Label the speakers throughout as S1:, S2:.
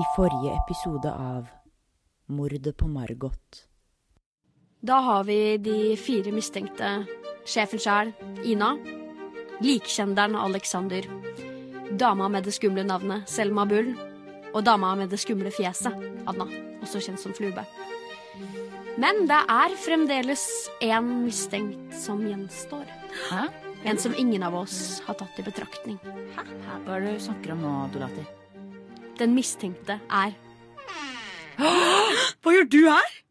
S1: I forrige episode av Mordet på Margot.
S2: Da har vi de fire mistenkte. Sjefen sjæl, Ina. Likkjenderen Alexander. Dama med det skumle navnet, Selma Bull. Og dama med det skumle fjeset, Anna, også kjent som Flube. Men det er fremdeles én mistenkt som gjenstår.
S3: Hæ?
S2: En som ingen av oss har tatt i betraktning.
S3: Hæ? Hva er det du snakker om nå, Dolati?
S2: Den mistenkte er
S3: Hva gjør du her?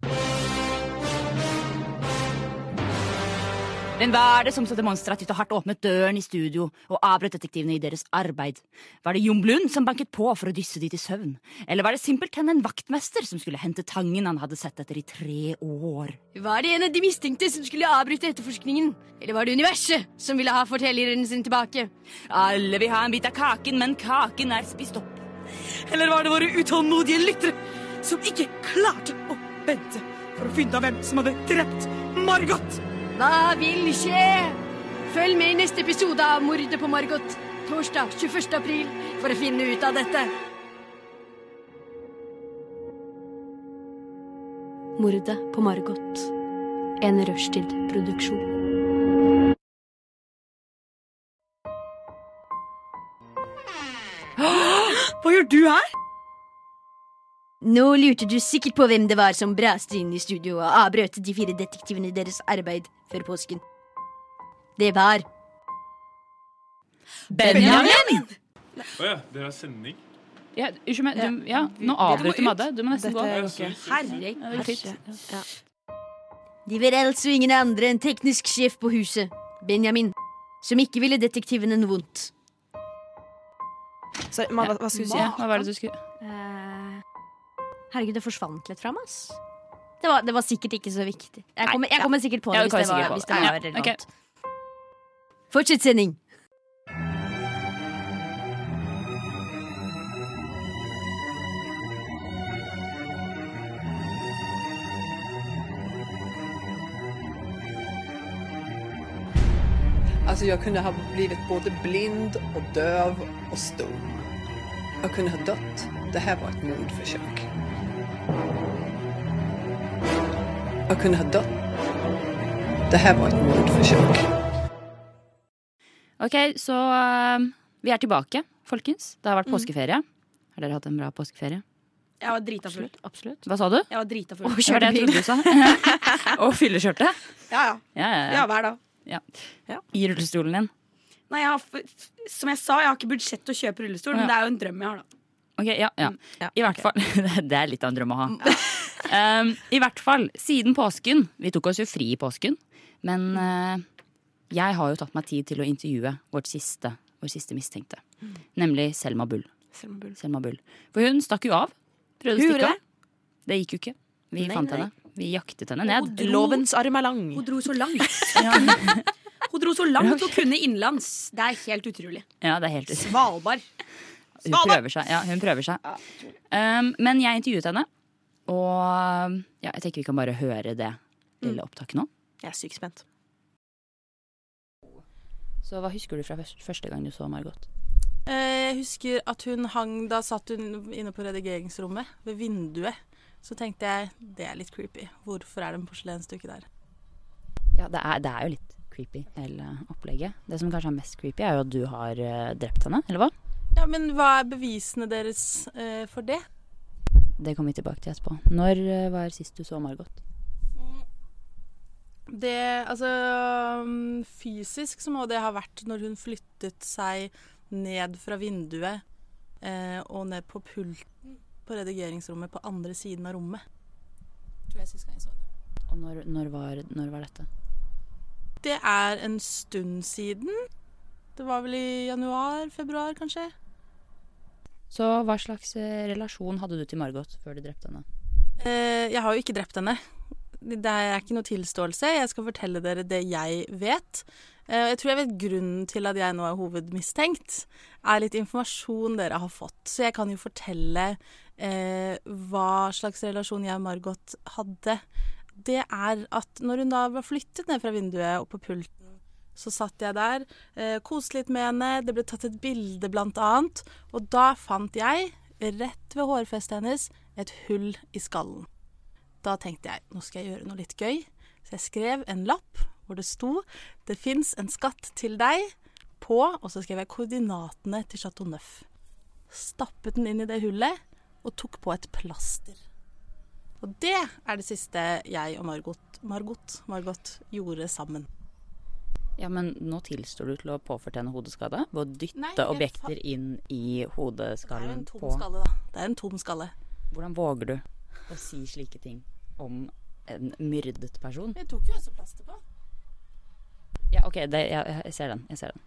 S3: Men hva er det som så demonstrativt og hardt åpnet døren i studio og avbrøt detektivene i deres arbeid? Var det Jon Blund som banket på for å dysse de til søvn? Eller var det simpelthen en vaktmester som skulle hente tangen han hadde sett etter i tre år?
S2: Var det en av de mistenkte som skulle avbryte etterforskningen? Eller var det universet som ville ha fortelleren sin tilbake?
S3: Alle vil ha en bit av kaken, men kaken er spist opp. Eller var det våre utålmodige lyttere som ikke klarte å vente for å finne av hvem som hadde drept Margot?
S2: Hva vil skje? Følg med i neste episode av Mordet på Margot. Torsdag 21. april for å finne ut av dette. Mordet på Margot. En rushtid-produksjon.
S3: Hva gjør du her?
S2: Nå lurte du sikkert på hvem det var som braste inn i studio og avbrøt de fire detektivene i deres arbeid før påsken. Det var
S3: Benjamin!
S4: Å ja, dere har sending?
S5: Ja, unnskyld meg. Du, ja, nå avbryter Madde. Du må nesten gå.
S4: Ja,
S5: Ja,
S4: sorry, sorry, sorry.
S2: Herregud.
S5: det går fint.
S2: De var altså ingen andre enn teknisk sjef på huset, Benjamin, som ikke ville detektivene noe vondt.
S6: Sorry, Ma, hva, hva skulle du si?
S5: Ja, hva var det du skulle
S6: Eh,
S2: Herregud, det forsvant litt fra meg, ass. Det var, det var sikkert ikke så viktig. Jeg kommer, jeg kommer sikkert på det
S5: Ja, du
S2: hvis
S5: kommer
S2: det var,
S5: sikkert
S2: hvis det
S5: på det. Ja,
S2: var relevant.
S5: ok.
S2: Fortsett sending.
S7: Alltså jag kunde Altså, ha blivit både blind och döv och stum. Jag kunde ha dött. Det här var ett mordförsök. Jag kunde ha dött. Det här var ett mordförsök.
S5: Ok, så um, vi er tilbake, folkens. Det har vært påskeferie. Har dere hatt en bra påskeferie?
S6: Jeg var drita full.
S5: Absolutt. Hva sa du?
S6: Jeg var drita full.
S5: Det var det jeg trodde du sa. Og fyllekjørte.
S6: Ja, ja.
S5: Ja, ja,
S6: ja, hver dag.
S5: ja. I rullestolen din.
S6: Nei, jeg har, f- f- som jeg sa, jeg har ikke budsjett til å kjøpe rullestol, men
S5: Ja.
S6: det er jo en drøm jeg har, da.
S5: Ok, ja, ja.
S6: ja, Mm.
S5: I hvert fall. Det er litt av en drøm å ha. Um, I hvert fall, siden påsken. Vi tok oss jo fri i påsken. Men
S6: Mm.
S5: uh, jeg har jo tatt meg tid til å intervjue vårt siste, vår siste mistenkte. Nemlig Selma Bull.
S6: Selv om Mm. bull.
S5: Selma Bull. For hun stakk jo av. Prøvde å
S6: Hun gjorde
S5: stikke av. Det gikk jo ikke. Vi fant henne. Vi jaktet henne ned.
S8: Lovens arm er lang.
S6: Hun dro så langt.
S5: Ja,
S6: Hun dro så langt hun kunne innenlands. Det er helt utrolig.
S5: ja det er helt ut.
S6: Svalbard.
S5: Hun prøver seg. Ja, hun prøver seg. Um, men jeg intervjuet henne, og um, ja, jeg tenker vi kan bare høre det lille opptaket nå.
S8: Jeg er sykt spent.
S5: Så hva husker du fra først- første gang du så Margot?
S9: Eh, Jeg husker at hun hang Da satt hun inne på redigeringsrommet ved vinduet. Så tenkte jeg det er litt creepy. Hvorfor er det en porselensdukke der?
S5: Ja, det er, det er jo litt creepy, hele opplegget. Det som kanskje er mest creepy, er jo at du har eh, drept henne, eller hva?
S9: Ja, Men hva er bevisene deres eh, for det?
S5: Det kommer vi tilbake til etterpå. Når eh, var sist du så Margot?
S9: Det Altså mm, Fysisk så må det ha vært når hun flyttet seg ned fra vinduet eh, og ned på pulten på redigeringsrommet på andre siden av rommet. Tror jeg sist gang jeg så det.
S5: Og når, når, var, når var dette?
S9: Det er en stund siden. Det var vel i januar-februar, kanskje?
S5: Så hva slags eh, relasjon hadde du til Margot før du drepte henne?
S9: Eh, jeg har jo ikke drept henne. Det er ikke noe tilståelse. Jeg skal fortelle dere det jeg vet. Eh, jeg tror jeg vet grunnen til at jeg nå er hovedmistenkt, er litt informasjon dere har fått. Så jeg kan jo fortelle eh, hva slags relasjon jeg og Margot hadde. Det er at når hun da var flyttet ned fra vinduet og på pulten, så satt jeg der, eh, koste litt med henne, det ble tatt et bilde blant annet, og da fant jeg rett ved hårfestet hennes et hull i skallen. Da tenkte jeg nå skal jeg gjøre noe litt gøy, så jeg skrev en lapp hvor det sto 'Det fins en skatt til deg' på, og så skrev jeg koordinatene til Chateau Neuf. Stappet den inn i det hullet og tok på et plaster. Og det er det siste jeg og Margot, Margot, Margot gjorde sammen.
S5: Ja, men nå tilstår du til å ha påført henne hodeskade ved å dytte
S9: Nei, jeg fa-
S5: objekter inn i
S9: Det er jo
S5: hodeskallen
S9: en tom
S5: på
S9: skalle, da. Det er en tom skalle.
S5: Hvordan våger du å si slike ting om en myrdet person?
S9: Jeg tok jo også plaster på.
S5: Ja, OK, det, jeg, jeg ser den. Jeg ser den.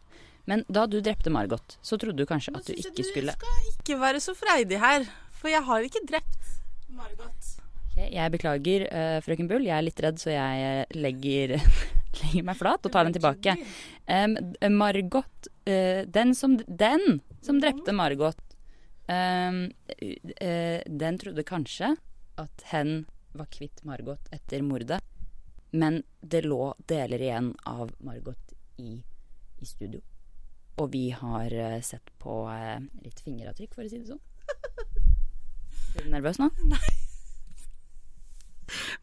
S5: Men da du drepte Margot, så trodde du kanskje at du
S9: synes jeg
S5: ikke skulle
S9: Ikke være så freidig her, for jeg har ikke drept Margot.
S5: Ok, Jeg beklager, eh, frøken Bull. Jeg er litt redd, så jeg eh, legger, legger meg flat og tar den tilbake. Em, d- Margot eh, Den som, den som drepte Margot, em, eh, den trodde kanskje at hen var kvitt Margot etter mordet. Men det lå deler igjen av Margot i, i studio. Og vi har eh, sett på eh, litt fingeravtrykk, for å si det sånn. Blir du nervøs nå?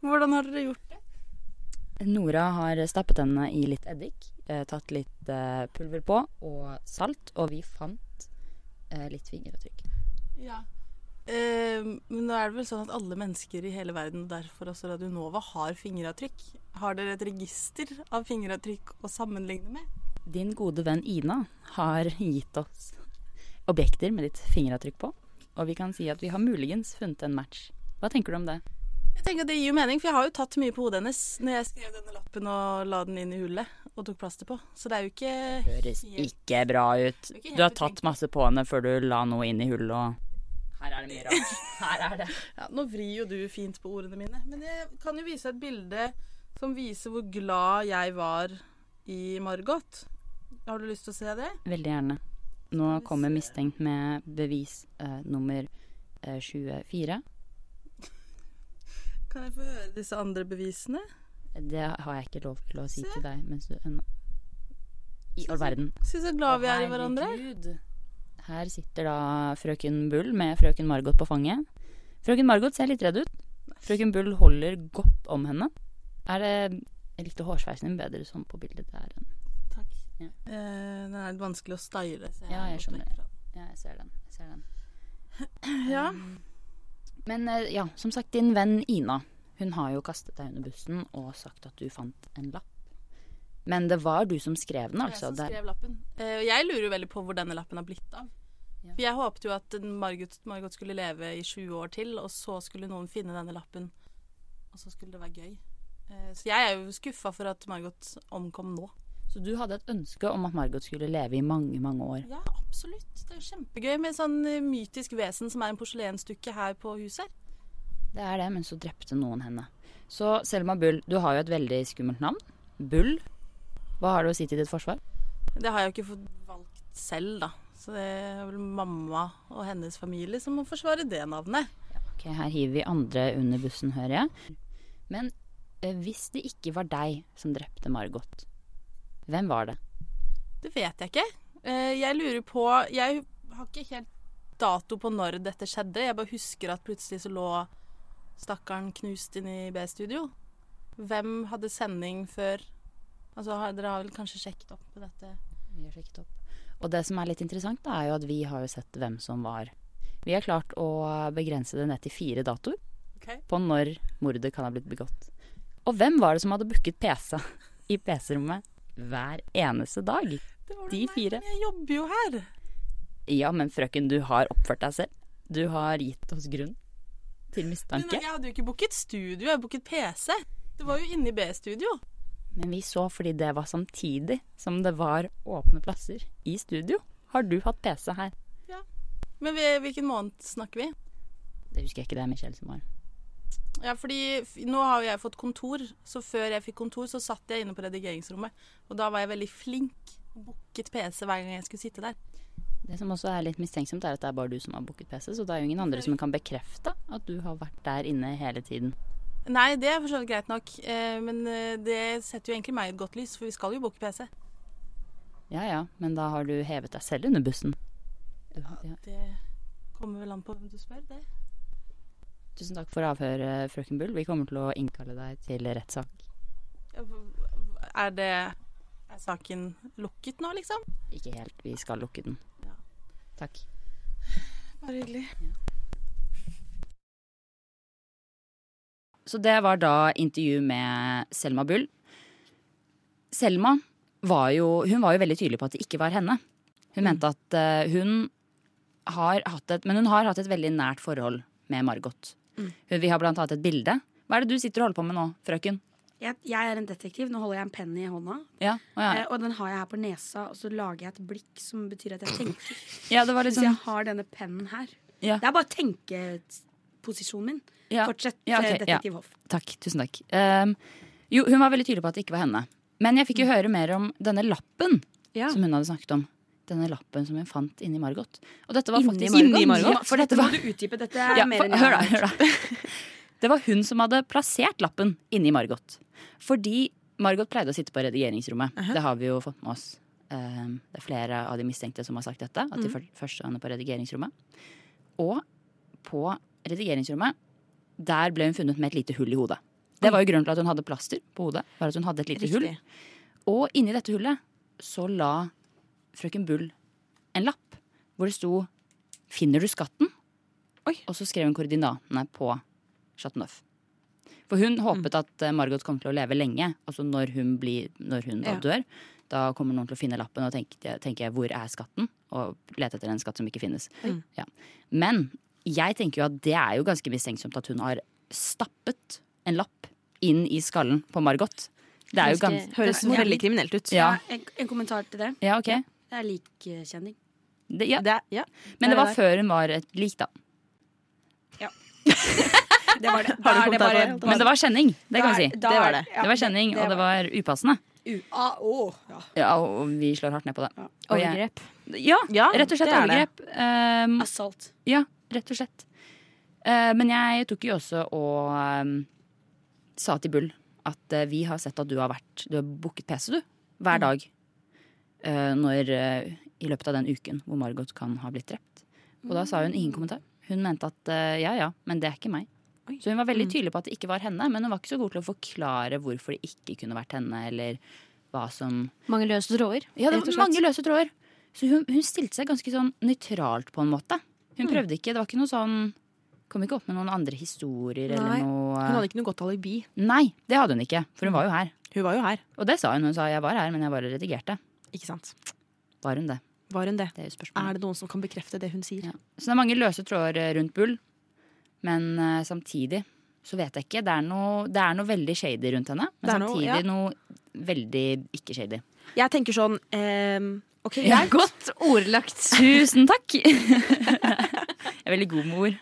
S9: Hvordan har dere gjort det?
S5: Nora har stappet henne i litt eddik, eh, tatt litt eh, pulver på og salt, og vi fant eh, litt fingeravtrykk.
S9: Ja. Eh, men nå er det vel sånn at alle mennesker i hele verden, og derfor også Radionova, har fingeravtrykk. Har dere et register av fingeravtrykk å sammenligne med?
S5: Din gode venn Ina har gitt oss objekter med ditt fingeravtrykk på, og vi kan si at vi har muligens funnet en match. Hva tenker du om det?
S9: Jeg tenker at Det gir jo mening, for jeg har jo tatt mye på hodet hennes når jeg skrev denne lappen og la den inn i hullet og tok plaster på. Så det er jo ikke
S5: Høres ikke bra ut.
S9: ikke helt
S5: Du har tatt masse på henne før du la noe inn i hullet og Her er det mye rart. Her er det.
S9: Ja, nå vrir jo du fint på ordene mine, men jeg kan jo vise et bilde som viser hvor glad jeg var i Margot. Har du lyst til å se det?
S5: Veldig gjerne. Nå kommer mistenkt med bevis eh, nummer eh, 24.
S9: Kan jeg få høre disse andre bevisene?
S5: Det har jeg ikke lov til å si til deg mens du ennå I all verden.
S9: Se så glad vi er i hverandre.
S5: Herregud. Her sitter da frøken Bull med frøken Margot på fanget. Frøken Margot ser litt redd ut. Frøken Bull holder godt om henne. Er det Jeg likte hårsveisen din bedre sånn på bildet der. enn-
S9: Takk.
S5: Ja.
S9: Eh, den er litt vanskelig å style. så
S5: Ja, jeg
S9: har gått
S5: skjønner.
S9: vekk fra
S5: Ja, jeg ser den. Jeg ser den.
S9: den. Ja.
S5: Men eh, ja, som sagt, din venn Ina. Hun har jo kastet deg under bussen og sagt at du fant en lapp. Men det var du som skrev den, altså.
S9: jeg som
S5: Det-
S9: skrev lappen. Eh, og jeg lurer jo veldig på hvor denne lappen har blitt av.
S5: Ja.
S9: For jeg håpet jo at Margot, Margot skulle leve i 20 år til, og så skulle noen finne denne lappen. Og så skulle det være gøy. Eh, så jeg er jo skuffa for at Margot omkom nå.
S5: Så du hadde et ønske om at Margot skulle leve i mange, mange år.
S9: Ja, absolutt. Det er jo kjempegøy med sånn eh, mytisk vesen som er en porselensdukke her på huset. her.
S5: Det er det, men så drepte noen henne. Så Selma Bull, du har jo et veldig skummelt navn. Bull. Hva har du å si til ditt forsvar?
S9: Det har jeg jo ikke fått valgt selv, da. Så det er vel mamma og hennes familie som må forsvare det navnet.
S5: Ok, Her hiver vi andre under bussen, hører jeg. Men eh, hvis det ikke var deg som drepte Margot, hvem var det?
S9: Det vet jeg ikke. Eh, Jeg lurer på Jeg har ikke helt dato på når dette skjedde. Jeg bare husker at plutselig så lå stakkaren knust inne i B-studio. Hvem hadde sending før Altså, har, dere har vel kanskje sjekket opp på dette?
S5: Vi har sjekket opp. Og det som er litt interessant, da, er jo at vi har jo sett hvem som var. Vi har klart å begrense det ned til fire datoer på når mordet kan ha blitt begått. Og hvem var det som hadde booket PC i PC-rommet hver eneste dag?
S9: Det var det
S5: De
S9: meg,
S5: fire.
S9: men Jeg jobber jo her.
S5: Ja, men frøken, du har oppført deg selv. Du har gitt oss grunn til
S9: Men eh,
S5: mistanke.
S9: jeg hadde jo ikke booket studio, jeg booket PC. Det var jo inne i B-studio.
S5: Men vi så fordi det var samtidig som det var åpne plasser i studio. Har du hatt PC her?
S9: Men vi- hvilken måned snakker vi?
S5: Det husker jeg ikke, det er Michelle som har.
S9: Ja, fordi f- nå har jo jeg fått kontor, så før jeg fikk kontor, så satt jeg inne på redigeringsrommet. Og da var jeg veldig flink og booket PC hver gang jeg skulle sitte der.
S5: Det som også er litt mistenksomt, er at det er bare du som har booket PC, så det er jo ingen andre som kan bekrefte at du har vært der inne hele tiden.
S9: Nei, det er for så vidt greit nok, eh, men eh, det setter jo egentlig meg i et godt lys, for vi skal jo booke PC.
S5: Ja ja, men da har du hevet deg selv under bussen. Ja,
S9: Det kommer vel an på hvem du spør. det.
S5: Tusen takk for avhøret, frøken Bull. Vi kommer til å innkalle deg til rettssak.
S9: Ja, hva- hva- Er det Er saken lukket nå, liksom?
S5: Ikke helt. Vi skal lukke den. Takk.
S9: Bare hyggelig.
S5: Så det var da intervju med Selma Bull. Selma var jo, hun var jo veldig tydelig på at det ikke var henne. Hun mente at eh, hun har hatt et Men hun har hatt et veldig nært forhold med Margot. Hun, vi har blant annet et bilde. Hva er det du sitter og holder på med nå, frøken?
S6: Jeg, jeg er en detektiv. Nå holder jeg en penn i hånda.
S5: Ja, å ja.
S6: Eh, og den har jeg her på nesa, og så lager jeg et blikk som betyr at jeg tenker.
S5: ja det var litt
S6: Hvis jeg
S5: sånn
S6: har denne pennen her.
S5: Ja.
S6: Det er bare tenkeposisjonen min.
S5: sånn, ja.
S6: Fortsett,
S5: Ja,
S6: eh,
S5: ok, ja.
S6: detektiv Hoff.
S5: Takk, tusen takk. Ehm, jo, hun var veldig tydelig på at det ikke var henne. Men jeg fikk jo høre mer om denne lappen
S6: Mm. Ja.
S5: som hun hadde snakket om. Denne lappen som hun fant inni Margot. Og dette var
S6: Inni
S5: faktisk
S6: Margot?
S5: Ja, for dette var,
S6: Må du utdype dette er
S5: ja,
S6: mer
S5: for,
S6: enn jeg
S5: hør da,
S6: har hørt.
S5: hør da. Det var hun som hadde plassert lappen inni Margot. Fordi Margot pleide å sitte på redigeringsrommet. Det har vi jo fått med oss. Ehm, det er flere av de mistenkte som har sagt dette. At de mm. først havnet på redigeringsrommet. Og på redigeringsrommet, der ble hun funnet med et lite hull i hodet. Det var jo grunnen til at hun hadde plaster på hodet. Var at hun hadde et lite hull.
S8: Riktig.
S5: Og inni dette hullet så la frøken Bull en lapp hvor det sto 'Finner du skatten?'
S8: Oi.
S5: Og så skrev hun koordinatene på Chateauneuf. For hun
S6: Mm.
S5: håpet at eh, Margot kom til å leve lenge. Altså når hun, blir, når hun da
S8: Ja.
S5: dør. Da kommer noen til å finne lappen og tenke, tenke 'hvor er skatten?' og lete etter en skatt som ikke finnes. Ja. Men jeg tenker jo at det er jo ganske mistenksomt at hun har stappet en lapp inn i skallen på Margot. Det er jo ganske
S8: Høres
S6: Ja.
S8: veldig kriminelt ut.
S5: ja.
S6: En, en kommentar til det.
S5: ja, ok.
S6: Det er likkjenning.
S5: Det, ja.
S8: Det, er- ja.
S5: Men det
S8: Der er
S5: var før hun var et lik, da.
S6: Det var det.
S8: Har du
S6: Da er det
S8: kommentar på
S6: bare
S8: det?
S5: Men det var kjenning. Det kan vi si.
S6: da
S8: Det var
S6: er-
S8: det.
S6: ja,
S5: Det var kjenning, og det var upassende.
S6: U- ah, å, ja.
S5: Ja, og vi slår hardt ned på det. Og jeg-
S2: Overgrep.
S5: Ja,
S8: Ja,
S5: rett og slett
S8: det er det.
S5: overgrep. Um,
S6: Assault.
S5: ja, rett og slett. Eh, men jeg tok jo også og um, sa til Bull at eh, vi har sett at du har vært Du har booket PC, du.
S8: Mm.
S5: Hver dag. Eh, når eh, I løpet av den uken hvor Margot kan ha blitt drept. Og da sa hun ingen kommentar. Hun mente at eh, ja ja, men det er ikke meg. Så hun var
S8: Mm.
S5: veldig tydelig på at det ikke var henne, men hun var ikke så god til å forklare hvorfor det ikke kunne vært henne, eller hva som
S2: Mange løse tråder.
S5: ja, det
S2: rett og
S5: var
S2: slett.
S5: mange løse tråder. Så hun, hun stilte seg ganske sånn nøytralt på en måte. Hun
S8: Mm.
S5: prøvde ikke, det var ikke noe sånn Kom ikke opp med noen andre historier
S8: Nei,
S5: eller noe
S8: Hun hadde ikke noe godt alibi.
S5: Nei, det hadde hun ikke, for hun var jo her.
S8: Hun var jo her,
S5: Og det sa hun. Hun sa 'jeg var her, men jeg bare redigerte'.
S8: ikke sant.
S5: Var hun det?
S8: Var hun det?
S5: Det er jo spørsmålet.
S8: Er det noen som kan bekrefte det hun sier?
S5: Ja. Så det er mange løse tråder eh, rundt Bull. Men eh, samtidig så vet jeg ikke. Det er noe, det er noe veldig shady rundt henne. Men
S8: Det er noe,
S5: samtidig
S8: ja.
S5: noe veldig ikke shady.
S8: Jeg tenker sånn ehm, Ok,
S5: Ja.
S8: greit.
S2: Godt ordlagt.
S5: Tusen takk! jeg er veldig god med ord.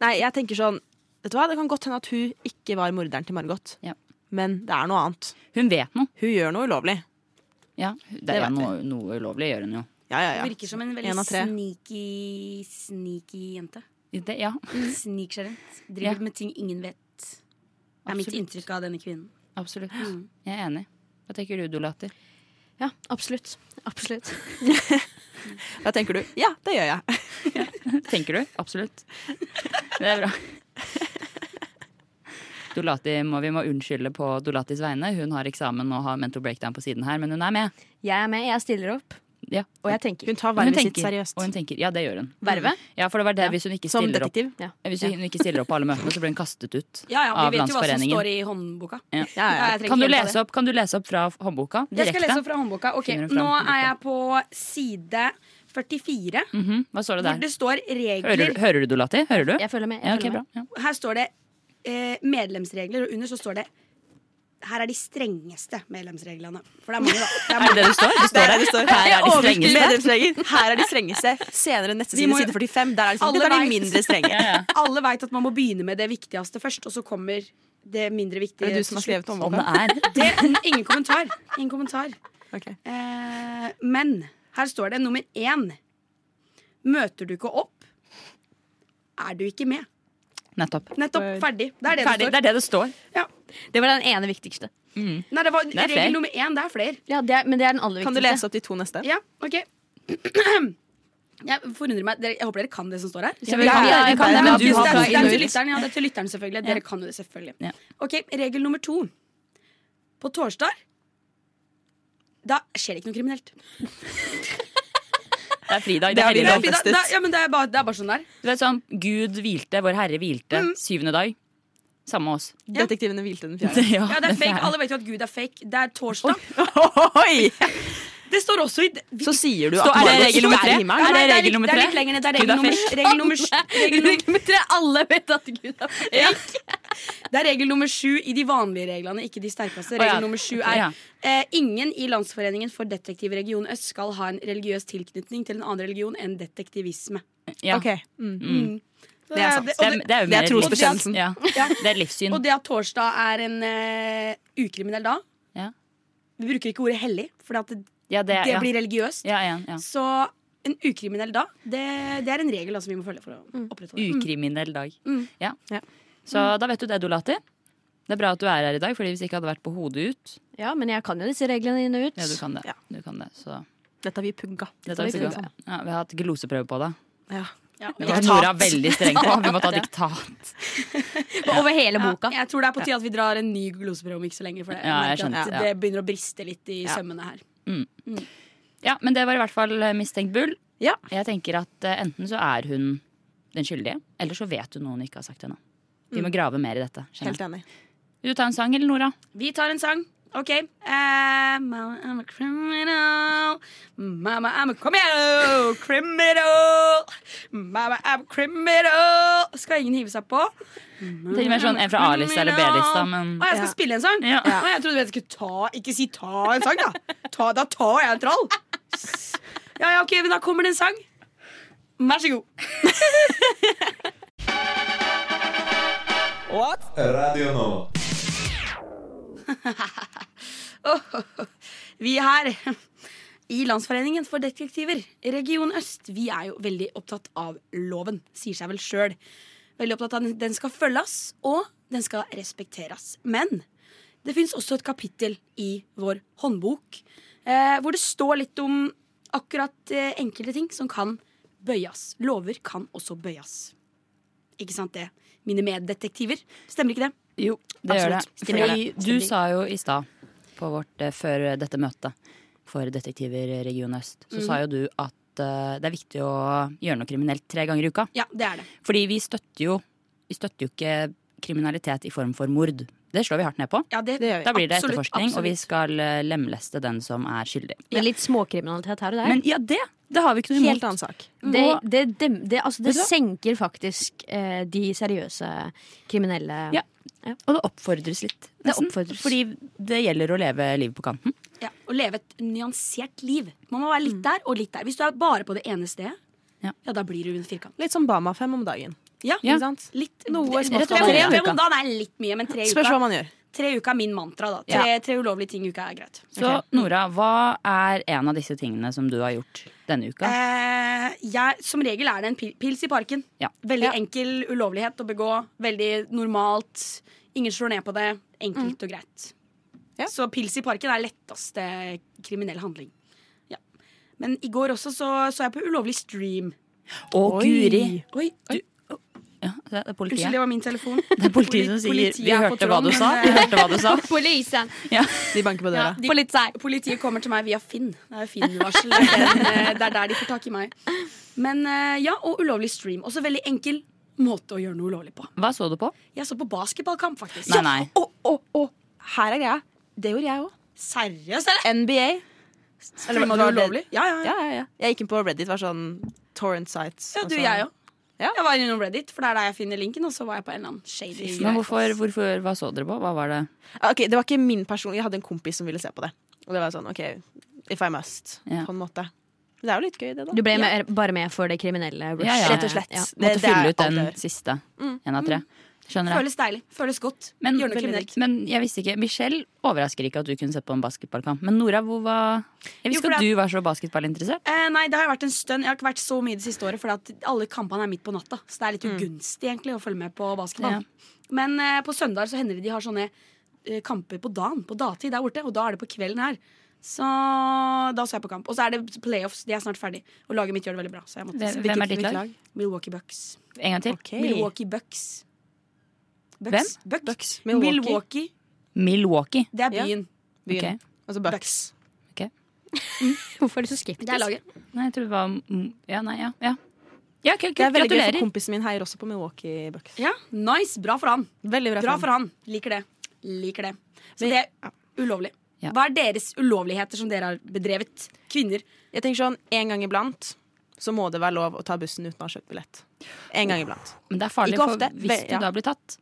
S8: Nei, jeg tenker sånn Vet du hva, det kan godt hende at hun ikke var morderen til Margot.
S5: Ja.
S8: Men det er noe annet.
S5: Hun vet noe.
S8: Hun gjør noe ulovlig.
S5: Ja, det
S8: vet
S5: er noe, noe ulovlig gjør hun jo.
S8: Ja, ja,
S6: Det
S8: ja.
S6: virker som en
S8: En av
S6: veldig
S8: tre.
S6: sneaky, sneaky jente.
S5: Det, ja,
S6: Sniker seg rundt. Driver
S5: Ja.
S6: med ting ingen vet. Det er mitt Mm.
S5: Absolutt.
S6: inntrykk av denne kvinnen.
S5: absolutt. Jeg er enig. Hva tenker du, Dolater?
S2: Ja, absolutt. Absolutt.
S8: Da tenker du ja, det gjør jeg.
S5: Tenker du? Absolutt. Det er bra. Dolati må, vi må unnskylde på Dolatis vegne. Hun har eksamen og har mental breakdown på siden her, men hun er med.
S2: Jeg er med, jeg stiller opp.
S5: Ja.
S2: Og jeg tenker.
S8: Hun tar
S5: Hun
S8: vervet sitt
S5: tenker,
S8: seriøst.
S5: og hun tenker, ja, det gjør hun.
S2: Vervet?
S5: Ja, for det var det hvis hun ikke
S8: Som
S5: stiller opp
S8: detektiv.
S5: Eh, Hvis hun ikke stiller opp på alle møtene, så blir hun kastet ut
S6: Ja, ja,
S5: av
S6: Vi vet jo hva som
S5: Landsforeningen.
S6: står i håndboka.
S5: Ja.
S8: Ja, ja.
S6: jeg trenger
S5: Kan, du
S6: ikke gjenta det.
S5: lese opp, kan du lese opp fra håndboka direkte?
S6: Jeg skal lese opp fra håndboka. Ok,
S5: Finner du fram
S6: Nå er jeg
S5: håndboka?
S6: på side 44,
S5: Mhm, Hva står det
S6: hvor
S5: der?
S6: det står
S5: Hører,
S6: regler.
S5: du- hører du, Dolati? Hører du?
S2: Jeg følger med.
S5: Ja,
S2: Jeg
S5: ok,
S2: følger
S5: bra.
S2: med.
S5: Ja.
S6: Her står det eh, medlemsregler, og under så står det her er de strengeste medlemsreglene. For det er mange, da. Det er
S5: Er det det det står? Det står der.
S8: det står.
S5: Her er de strengeste.
S8: Medlemsregler. Her er de strengeste. Senere neste
S6: Vi
S8: side,
S6: må jo-
S8: side 45. Der er, det sånn,
S6: Alle
S8: dette er
S6: vet.
S8: de mindre strenge.
S6: Alle veit at man må begynne med det viktigste først, og så kommer det mindre viktige.
S8: Er det du som har
S6: til slutt.
S8: skrevet om
S5: Om
S8: boka?
S5: det er
S6: Det, ingen kommentar. Ingen kommentar.
S8: Ok.
S6: Eh, men her står det nummer én. Møter du ikke opp, er du ikke med.
S5: Nettopp.
S6: Nettopp. Ferdig. Det er det
S5: Ferdig. Det
S6: det
S5: er det det står.
S2: Det var den ene viktigste.
S6: står. Nei, det var
S5: er flere.
S6: regel nummer én. Det er flere.
S2: Ja, det er, men det er den aller
S8: Kan du
S2: viktigste.
S8: lese opp de to neste?
S6: Ja, ok
S8: Jeg forundrer meg, dere, jeg håper dere kan det som står her.
S5: Ja, vi kan det, vi kan det,
S8: men
S5: men
S8: det,
S5: du har
S8: er, det er til
S5: ikke
S8: lytteren, ja, det er til lytteren selvfølgelig. Dere kan jo det selvfølgelig.
S5: Ja.
S8: Ok, Regel nummer to. På torsdag da skjer det ikke noe kriminelt.
S5: Det er fridag.
S10: Det
S5: Det
S10: har
S5: er
S10: de
S8: Det er,
S5: helligdag.
S10: lovfestet.
S8: da, da, ja, men det, er bare, det er bare sånn der.
S5: Du vet sånn, Gud hvilte, vår Herre hvilte, syvende dag. Samme med oss.
S10: Detektivene hvilte den fjerde.
S8: Ja, det er fake. Alle vet jo at Gud er fake. Det er torsdag.
S10: Oi!
S8: Det står også i vi-
S10: Så sier du
S5: Så
S10: at
S5: er det
S10: Margot
S5: regel nummer
S10: er i
S5: tre?
S10: himmelen.
S5: Er det
S8: Nei, litt-
S5: regel nummer
S8: Det
S5: tre?
S8: er litt lenger ned. Det er
S5: Gud
S8: regel
S5: er
S8: nummer, regel nummer, regel nummer
S6: Regel nummer tre. Alle vet at Gud er fake.
S8: Det er regel nummer sju i de vanlige reglene, ikke de sterkeste. Regel
S5: Å ja.
S8: nummer sju er
S5: Ja.
S8: eh, ingen i Landsforeningen for detektivregion Øst skal ha en religiøs tilknytning til en annen religion enn detektivisme.
S5: Ja.
S10: Ok. Mm.
S8: Så Det
S10: er sant.
S8: det-
S5: Det,
S8: og
S5: er,
S8: det-
S5: det er jo
S10: Det er
S5: mer
S10: trosbekjennelsen.
S5: Ja. Det er et livssyn.
S8: Og det at torsdag er en eh, ukriminell dag
S5: Ja.
S8: Vi bruker ikke ordet hellig, for det,
S5: Ja, det,
S8: det
S5: er- ja.
S8: blir religiøst.
S5: Ja, ja, ja.
S8: Så en ukriminell dag, det, det er en regel altså, vi må følge for å opprettholde.
S5: Ukriminell dag.
S8: Mm.
S5: Ja.
S10: Ja. Mm.
S5: Så da vet du det, Dolati. Det er bra at du er her i dag, Fordi hvis ikke hadde det vært på hodet ut
S6: Ja, men jeg kan jo disse reglene inn og ut.
S5: Ja, du kan det.
S10: Ja.
S5: Du kan det. Så
S10: Dette har vi pugga.
S5: dette har vi
S6: vi
S5: ikke
S6: kan
S5: gått. ja, Vi har hatt gloseprøve på deg.
S10: Ja.
S8: Ja, og
S5: Det
S8: jeg,
S5: var Nora veldig streng på. Vi må ta diktat.
S6: Over hele boka.
S8: jeg tror det er på tide at vi drar en ny gloseprøve om ikke så lenge, for det, jeg
S5: Ja, jeg
S8: merker at
S5: skjønte, ja.
S8: det begynner å briste litt i sømmene her.
S5: Ja, men det var i hvert fall eh, mistenkt bull.
S10: Ja.
S5: Jeg tenker at eh, enten så er hun den skyldige, eller så vet hun noe hun ikke har sagt ennå. Vi må grave mer i dette. skjønner
S10: Mm. Helt enig.
S5: jeg. Vil du ta en sang, eller Nora?
S8: Vi tar en sang. OK. Eh, mama, I'm a criminal. Mama, I'm a criminal. Criminal. Mama, I'm a criminal. Skal ingen hive seg på?
S5: Jeg tenker mer sånn en fra A-lista eller B-lista, men
S8: Å, jeg skal
S10: Ja.
S8: spille en sang?
S5: Ja.
S8: Å, jeg trodde jeg skulle ta Ikke si 'ta en sang', da. Ta, da tar jeg en trall. Ja, ja, OK, men da kommer det en sang. Vær så god.
S4: Radio Nova.
S8: Vi her i Landsforeningen for detektiver, Region Øst, vi er jo veldig opptatt av loven. Sier seg vel sjøl. Veldig opptatt av at den skal følges, og den skal respekteres. Men det fins også et kapittel i vår håndbok eh, hvor det står litt om akkurat eh, enkelte ting som kan bøyes. Lover kan også bøyes. Ikke sant det, mine meddetektiver? Stemmer ikke det?
S5: Jo, det gjør det.
S8: absolutt. Stemmer
S5: Fordi
S8: det.
S5: du
S8: Stemmer.
S5: sa jo i stad, på vårt, eh, før dette møtet for Detektiver eh, Region Øst, så sa jo du at eh, det er viktig å gjøre noe kriminelt tre ganger i uka.
S8: Ja, det er det.
S5: Fordi vi støtter jo, vi støtter jo ikke kriminalitet i form for mord. Det slår vi hardt ned på.
S8: Ja, det,
S10: Det gjør vi.
S5: Da blir det
S8: Absolutt,
S5: etterforskning, og vi
S8: absolutt.
S5: skal eh, lemleste den som er skyldig.
S6: Med litt småkriminalitet her og der.
S5: Men ja, det, det har vi ikke noe
S10: Helt
S5: imot.
S10: annen sak.
S6: det, det, dem, det, altså, det
S5: Vet du hva?
S6: senker faktisk eh, de seriøse kriminelle
S5: Ja. Og det oppfordres litt.
S6: Det oppfordres.
S5: Fordi det gjelder å leve livet på kanten.
S8: Ja, Å leve et nyansert liv. Man må være litt der og litt der. Hvis du er bare på det ene stedet,
S5: Ja.
S8: ja, da blir du en firkant.
S10: Litt som Bama fem om dagen.
S8: Ja,
S5: Ja.
S10: Ikke sant?
S8: Litt,
S10: Noe
S8: det-
S10: smått
S8: tre-
S10: om dagen.
S8: tre om dagen er litt mye, men tre i
S10: Spørs hva
S8: uka,
S10: man gjør.
S8: tre i uka er min mantra. da Tre, tre ulovlige ting i uka er greit.
S5: Så Nora, hva er en av disse tingene som du har gjort denne uka?
S8: Eh, jeg, som regel er det en pil, pils i parken.
S5: Ja.
S8: Veldig enkel ulovlighet å begå. Veldig normalt. Ingen slår ned på det.
S5: Mm.
S8: Enkelt og greit.
S10: Ja.
S8: Så pils i parken er letteste kriminell handling. Ja. Men i går også så, så jeg på ulovlig stream.
S5: Å, guri!
S8: Oi,
S5: Ja, det er
S8: Unnskyld,
S5: politiet.
S8: det var min telefon.
S5: Det er politiet som sier 'vi hørte hva du sa'. Vi hørte hva du sa.
S6: Polisen!
S10: De banker på døra.
S8: eh, Politiet. kommer til meg via Finn. Det er jo Finn-varsel. Det er den, eh, det er der de får tak i meg. Men eh, ja, og ulovlig stream. Også veldig enkel måte å gjøre noe ulovlig på.
S5: Hva så du på?
S8: Jeg så på basketballkamp, faktisk.
S5: Nei, nei.
S10: Å, å, å. Her er greia. Det gjorde jeg òg.
S8: Seriøst, eller?
S10: NBA. Eller
S8: Streama du ulovlig? Ja, ja. ja.
S10: Ja, ja, ja. Jeg gikk inn på Reddit. Var sånn torrent sites.
S8: ja
S10: og
S8: du,
S10: så-
S8: jeg òg.
S10: Ja.
S8: Jeg var innom Reddit, for det er der jeg finner linken. Og så var jeg på en eller annen shady
S5: Men hvorfor, hvorfor, hva så dere på? Hva var det?
S10: Ok, Det var ikke min person. Jeg hadde en kompis som ville se på det. Og det var sånn, ok, if I must,
S5: Ja.
S10: på en måte. Det er jo litt gøy, det, da.
S6: Du ble med, bare med for det kriminelle rush.
S5: Ja, ja.
S10: Rett og slett.
S6: Ja.
S10: Det,
S5: Måtte
S10: det er
S5: fylle ut
S10: alt
S5: den
S10: jeg gjør.
S5: siste. En av tre. Skjønner jeg.
S8: Mm, Føles deilig. Føles godt.
S5: Men,
S8: Gjør noe kriminelt.
S5: men jeg visste ikke Michelle overrasker ikke at du kunne sett på en basketballkamp. Men Nora, hvor var Jeg visste
S8: Jo, for
S5: ikke at
S8: det-
S5: du var så basketballinteressert.
S8: Eh, nei, det har vært en stund. Jeg har ikke vært så mye det siste året, for alle kampene er midt på natta. Så det er litt ugunstig egentlig å følge med på basketball. Men eh, på søndag så hender det de har sånne eh, kamper på dagen, på datid der borte. Og da er det på kvelden her. Så da så jeg på kamp. Og så er det playoffs. De er snart ferdig. Og laget mitt gjør det veldig bra. Så jeg måtte
S5: Hvem-
S8: se.
S5: Hvem er
S9: Hvilket-
S5: ditt
S9: hvilket
S5: lag?
S8: Milwaukee Bucks.
S5: En gang til.
S8: Milwaukee Bucks. Bucks.
S5: Hvem?
S8: Bucks.
S9: Bucks.
S8: Milwaukee.
S9: Milwaukee.
S5: Milwaukee.
S8: Det er
S9: Ja.
S8: byen.
S9: Byen.
S5: Ok.
S9: Altså Bucks.
S11: Hvorfor er du så skeptisk?
S8: Det er laget.
S5: Nei, jeg tror det var mm, Ja, nei, ja. Ja, ja kult,
S9: Det er
S5: kult.
S9: veldig gøy, for
S5: Gratulerer.
S9: kompisen min heier også på Milwaukee Bucks.
S8: Ja, nice. Bra for han.
S9: Veldig bra,
S8: Bra
S9: for
S8: for han. Liker det. Liker det. Så det er ulovlig.
S5: Ja.
S8: Hva er deres ulovligheter som dere har bedrevet? Kvinner.
S9: Jeg tenker sånn, En gang iblant så må det være lov å ta bussen uten å ha kjøpt billett. En gang iblant.
S5: Men det er farlig,
S9: Ikke
S5: for
S9: ofte,
S5: hvis
S9: ve-
S5: du
S9: ja.
S5: da blir tatt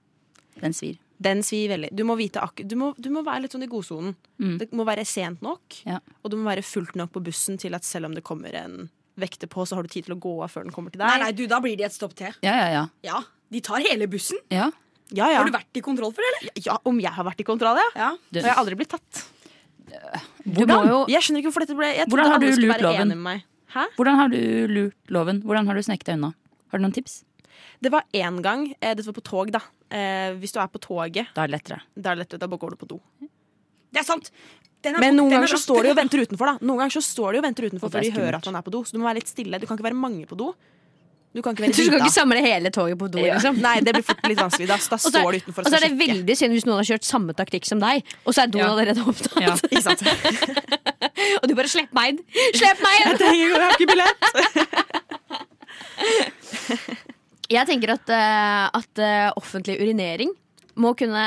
S5: Den svir.
S9: Den svir veldig. Du må, vite akku- du, må, du må være litt sånn i godsonen.
S8: Mm.
S9: Det må være sent nok,
S5: Ja.
S9: og du må være fullt nok på bussen til at selv om det kommer en vekter på, så har du tid til å gå av før den kommer til deg.
S8: Nei, nei, du, da blir de et stopp til.
S5: Ja, ja, ja.
S8: Ja, De tar hele bussen.
S5: ja.
S9: Ja, ja.
S8: Har du vært i kontroll for det, eller?
S9: ja, Om jeg har vært i kontroll, ja.
S8: Ja.
S5: Du,
S9: Og jeg har aldri blitt tatt.
S5: du må jo,
S9: Jeg skjønner ikke hvorfor dette ble Jeg
S5: Hvordan
S9: trodde
S5: har
S9: alle
S5: du
S9: skulle
S5: lurt
S9: være
S5: loven?
S9: enige med meg. Hæ?
S5: hvordan har du lurt loven? Hvordan har du sneket deg unna? Har du noen tips?
S9: Det var én gang. Eh, dette var på tog, da. Eh, hvis du er på toget,
S5: Da er det lettere.
S9: da, er det lett, da bare går du på do.
S8: Det er sant. Den er-
S9: Men noen
S8: den er
S9: ganger så
S8: rask.
S9: står de og venter utenfor, da. Noen ganger så står de og venter utenfor
S5: Og det
S9: for
S5: er
S9: de
S5: skummelt.
S9: hører at man er på do. Så du må være litt stille. Du kan ikke være mange på do. Du kan ikke
S11: Du
S9: være
S11: skal ikke
S9: lita.
S11: samle hele toget på do, liksom.
S9: Nei, det blir fort litt vanskelig. Da, så da
S11: Og så
S9: står du
S11: er,
S9: utenfor
S11: og så er det veldig synd hvis noen har kjørt samme taktikk som deg, og så er doen
S5: Ja.
S11: allerede opptatt.
S5: Ja.
S9: Ikke sant? Jeg
S11: Og du bare 'slipp meg inn'! Slipp meg inn!
S9: trenger- jeg har ikke billett.
S6: Jeg tenker at, eh, at eh, offentlig urinering må kunne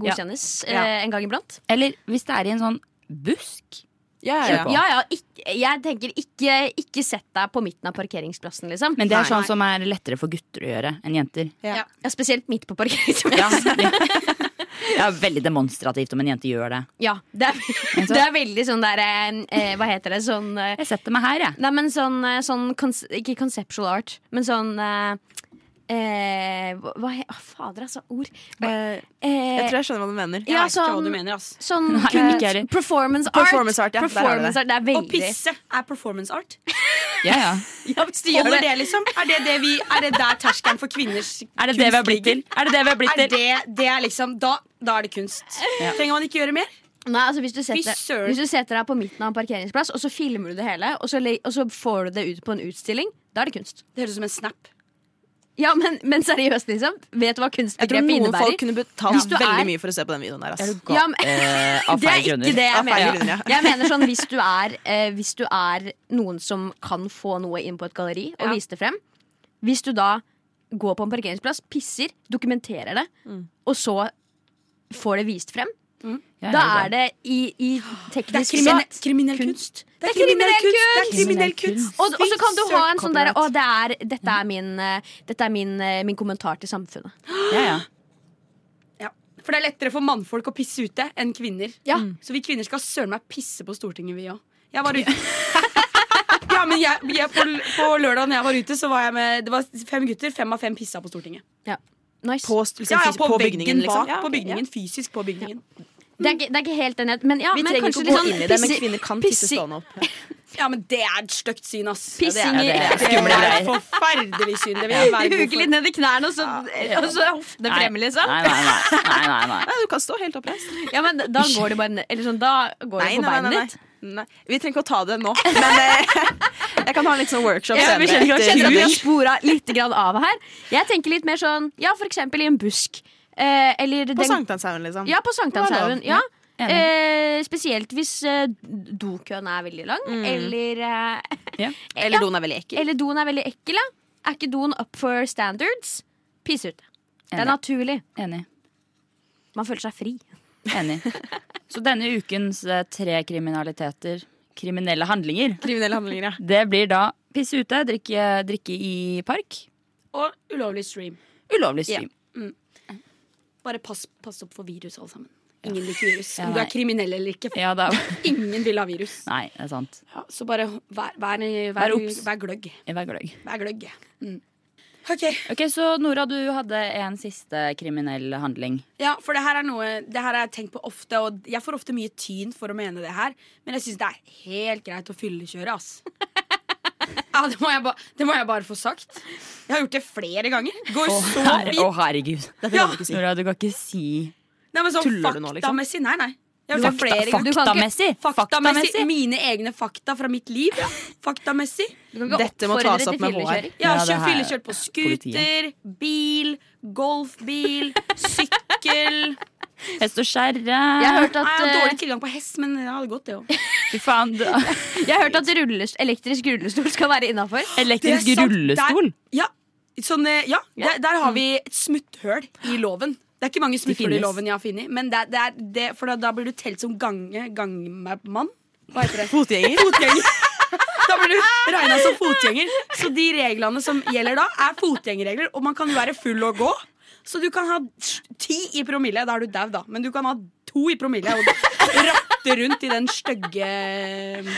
S6: godkjennes
S5: Ja.
S6: eh, en gang iblant.
S5: Eller hvis det er i en sånn busk.
S9: Ja, ja,
S5: Kjør på.
S9: ja.
S6: Ja, ja, ikk- jeg tenker ikke, ikke sett deg på midten av parkeringsplassen, liksom.
S5: Men det er
S9: Nei.
S5: sånn som er lettere for gutter å gjøre enn jenter.
S6: Ja, spesielt midt på parkeringsplassen.
S5: Ja, ja. Det er veldig demonstrativt om en jente gjør det.
S6: Ja, det, er, det er veldig sånn der eh, eh, Hva heter det? Sånn eh,
S5: Jeg setter meg her, jeg.
S6: Nei, men sånn, eh, sånn kons- Ikke conceptual art, men sånn eh, eh, Hva hva he- ah, Fader, altså. Ord.
S9: Eh, Jeg
S6: Eh,
S9: tror jeg skjønner hva du mener.
S8: Jeg
S6: ja,
S8: vet ikke hva du
S6: sånn,
S8: mener, ass.
S6: sånn
S5: Nei,
S6: kunst-
S5: ikke heller.
S6: performance art.
S9: Performance art, ja, der har du
S6: Performance
S9: det.
S6: art, det er
S8: Å
S6: veldig
S8: pisse er performance art.
S5: Ja, ja.
S6: Ja, hvis du gjør
S8: Holder
S6: det.
S8: det, liksom? Er det, det vi, er det der terskelen for kvinners
S5: Er det det vi har blitt til? Er det det vi har blitt
S8: Er
S5: til?
S8: det, det er liksom Da, da er det kunst.
S5: Ja.
S8: Trenger man ikke gjøre mer?
S6: Nei, altså hvis du, setter,
S8: søren.
S6: hvis du setter deg på midten av en parkeringsplass, og så filmer du det hele, og så, le- og så får du det ut på en utstilling, da er det kunst.
S8: Det høres ut som en snap.
S6: Ja, men, men seriøst, liksom. Vet du hva
S9: Jeg tror
S6: kunstbegrepet
S9: noen
S6: innebærer?
S9: folk kunne betalt
S6: Hvis du er-
S9: veldig mye for å se på den videoen der. ass.
S6: Ja, men,
S5: Eh, av
S6: det er
S5: feil
S6: ikke
S5: grunner.
S6: det jeg
S9: Av feil
S6: mener.
S9: grunner, ja.
S6: Jeg mener sånn hvis du, er, eh, hvis du er noen som kan få noe inn på et galleri og
S8: Ja.
S6: vise det frem. Hvis du da går på en parkeringsplass, pisser, dokumenterer det,
S9: Mm.
S6: og så får det vist frem,
S5: Ja,
S6: da
S5: ja,
S6: er det i, i
S8: Det er
S6: teknisk
S8: kriminell, kriminell kunst. Det er kriminell kunst! Det er kriminell kunst.
S6: Og, og så kan du ha en sånn der Å,
S8: Copyright.
S6: det er, dette er, min, eh, dette er min, eh, min kommentar til samfunnet.
S5: ja, ja.
S8: Ja. For det er lettere for mannfolk å pisse ute enn kvinner.
S6: Ja.
S8: Så vi kvinner skal søren meg pisse på Stortinget, vi òg. Jeg var ute. Ja, men jeg, jeg, på, på lørdag når jeg var ute, så var jeg med Det var fem gutter. Fem av fem pissa på Stortinget.
S6: Nice.
S9: På, liksom,
S8: Ja, ja,
S9: fysi-
S8: på,
S9: på
S8: veggen
S9: bygningen, liksom.
S8: bak.
S9: Ja,
S8: på
S9: ok, ja.
S8: bygningen, Fysisk på bygningen.
S6: Det, er, ikke- det er ikke helt enighet, men ja,
S9: Vi
S6: men
S9: trenger
S6: kanskje
S9: ikke
S6: litt
S9: gå
S6: sånn
S9: inn i det, men
S6: pissi-
S9: kvinner kan tisse
S6: pissi-
S9: stående opp.
S8: Ja, men det er et stygt syn, ass.
S6: Pissing i
S5: Ja, det
S8: Det er et forferdelig syn. Det vil jeg være god
S6: Huke litt
S8: for.
S6: ned i knærne, og så, eh, og så er hoftene fremme, liksom.
S5: Nei, nei, nei. nei, nei, nei.
S9: Ja, du kan stå helt oppreist.
S6: Ja, men da går det bare ned. Eller sånn, da går det på beinet ditt.
S9: Nei, Vi trenger ikke å ta det nå, men eh, jeg kan ha en litt sånn workshop
S6: Ja,
S9: senere.
S6: vi kjenner,
S9: etter
S6: kjenner at vi har
S9: jul.
S6: spora litt grann av her. Jeg tenker litt mer sånn Ja, for eksempel i en busk. Eh, eller
S9: På
S6: den
S9: sankthanshaugen, liksom.
S6: Ja, på Sankthanshaugen.
S9: Det
S6: Ja. Eh, spesielt hvis eh, dokøen er veldig lang, eller, eh,
S9: Eller doen er veldig ekkel.
S6: eller doen er veldig ekkel. ja. Er ikke doen up for standards? Piss ut. Det er
S5: Enig.
S6: naturlig.
S5: Enig.
S6: Man føler seg fri.
S5: Enig. Så denne ukens eh, tre kriminaliteter, kriminelle handlinger,
S9: Kriminelle handlinger, ja.
S5: det blir da pisse ute, drikke, drikke i park,
S8: Og ulovlig stream.
S5: ulovlig stream.
S8: Bare pass, pass opp for virus, alle sammen. Ingen liker virus.
S5: Ja,
S8: Om du
S5: nei.
S8: er kriminell eller ikke.
S5: Ja, da
S8: Ingen vil ha virus.
S5: Nei, det er sant.
S8: Ja, så bare vær, vær, vær,
S5: Vær obs.
S8: vær gløgg.
S5: Jeg var gløgg.
S8: Vær gløgg. Mm. Ok,
S5: Ok, Så Nora, du hadde en siste kriminell handling.
S8: ja, for det her er noe Det her har jeg tenkt på ofte, og jeg får ofte mye tyn for å mene det her, men jeg syns det er helt greit å fyllekjøre, ass. Ja, det må, jeg ba, det må jeg bare få sagt. Jeg har gjort det flere ganger. Går så
S5: Her- Å,
S8: fint.
S5: herregud.
S9: Dette kan du ikke si.
S5: Nora, du kan ikke si
S8: Nei, men sånn
S9: Tuller du nå, liksom?
S8: faktamessig, nei, nei.
S6: Ja, det var
S5: Fakta-
S6: flere ganger. Du kan ikke-
S5: faktamessig. Faktamessig.
S6: Mine egne fakta fra mitt liv. Faktamessig.
S8: kan ikke Dette må oppfordre tas opp til med HR. fyllekjøring.
S6: Ja,
S8: Ja, det
S6: kjør
S8: her-
S6: fyllekjørt på scooter, bil, golfbil, sykkel.
S5: Hest og skjerre.
S12: Jeg har hørt at,
S6: Nei, jeg har
S12: eh,
S6: dårlig tilgang på hest, men jeg hadde gått, det òg.
S5: Fy faen. du-
S12: eh, Jeg har hørt at rullest- elektrisk rullestol skal være innafor.
S5: Elektrisk rullestol?
S6: Ja, sånn, eh, ja. Der, der har vi et smutthull i loven. Det er ikke mange smutthull i
S5: finnes.
S6: loven jeg har funnet, men det, er- det er det, for da, da blir du telt som gange, gangmann. Hva heter det?
S8: Fotgjenger.
S6: Fotgjenger. Da blir du regna som fotgjenger. Så de reglene som gjelder da, er fotgjengerregler, og man kan jo være full og gå. Så du kan ha ti i promille, da er du dau, da. Men du kan ha to i promille og ratte rundt i den stygge eh,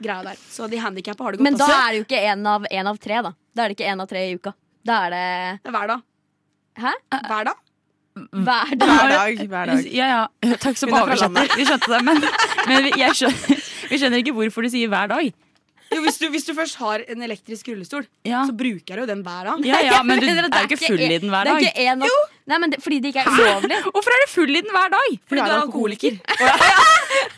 S6: greia der. Så de handikappa har det godt.
S12: Men da
S6: også.
S12: er det jo ikke én av, en av tre, da. Da er det ikke én av tre i uka. Da er det
S6: Hver dag.
S12: Hæ?
S6: Hver dag?
S12: Hver dag.
S8: Hver dag. Hver dag.
S5: Ja, ja. Takk som
S8: Hun er fra
S5: oversetter.
S8: landet.
S5: Vi skjønte det, men, men vi, jeg skjønner, vi skjønner ikke hvorfor du sier hver dag.
S6: Jo, hvis, du, hvis du først har en elektrisk rullestol,
S5: Ja.
S6: så bruker du jo den hver dag.
S5: Ja, ja, men du
S12: Det
S5: er jo ikke full i den hver dag.
S12: Det er ikke en av, nei, men det, fordi det ikke er ulovlig.
S5: Hvorfor er du full i den hver dag?
S6: Fordi du er alkoholiker.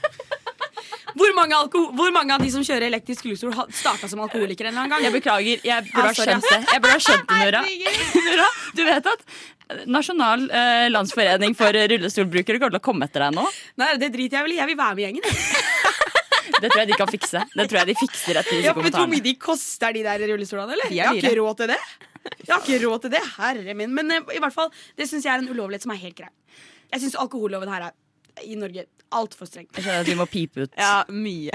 S6: Hvor mange, alko hvor mange av de som kjører elektrisk rullestol, har- starta som alkoholikere en eller annen
S5: Jeg
S6: gang?
S5: beklager. Jeg burde ha
S6: sorry,
S5: skjønt det, Jeg burde ha skjønt det, Nora. Nora. Du vet at Nasjonal eh, landsforening for rullestolbrukere kommer til å komme etter deg nå.
S6: Nei, det driter jeg vel i. Jeg vil være med i gjengen.
S5: Det tror jeg de kan fikse. Det tror jeg de fikser etter disse
S6: Ja, vet du hvor mye
S5: kommentarene.
S6: de koster, de der rullestolene? eller?
S8: er
S6: Jeg har
S8: dyre.
S6: ikke råd til det. Jeg har ikke råd til det, herre min. Men eh, i hvert fall, det syns jeg er en ulovlighet som er helt grei. Jeg syns alkoholloven her er i Norge altfor streng.
S5: Jeg skjønner at vi må pipe ut.
S8: Ja, mye.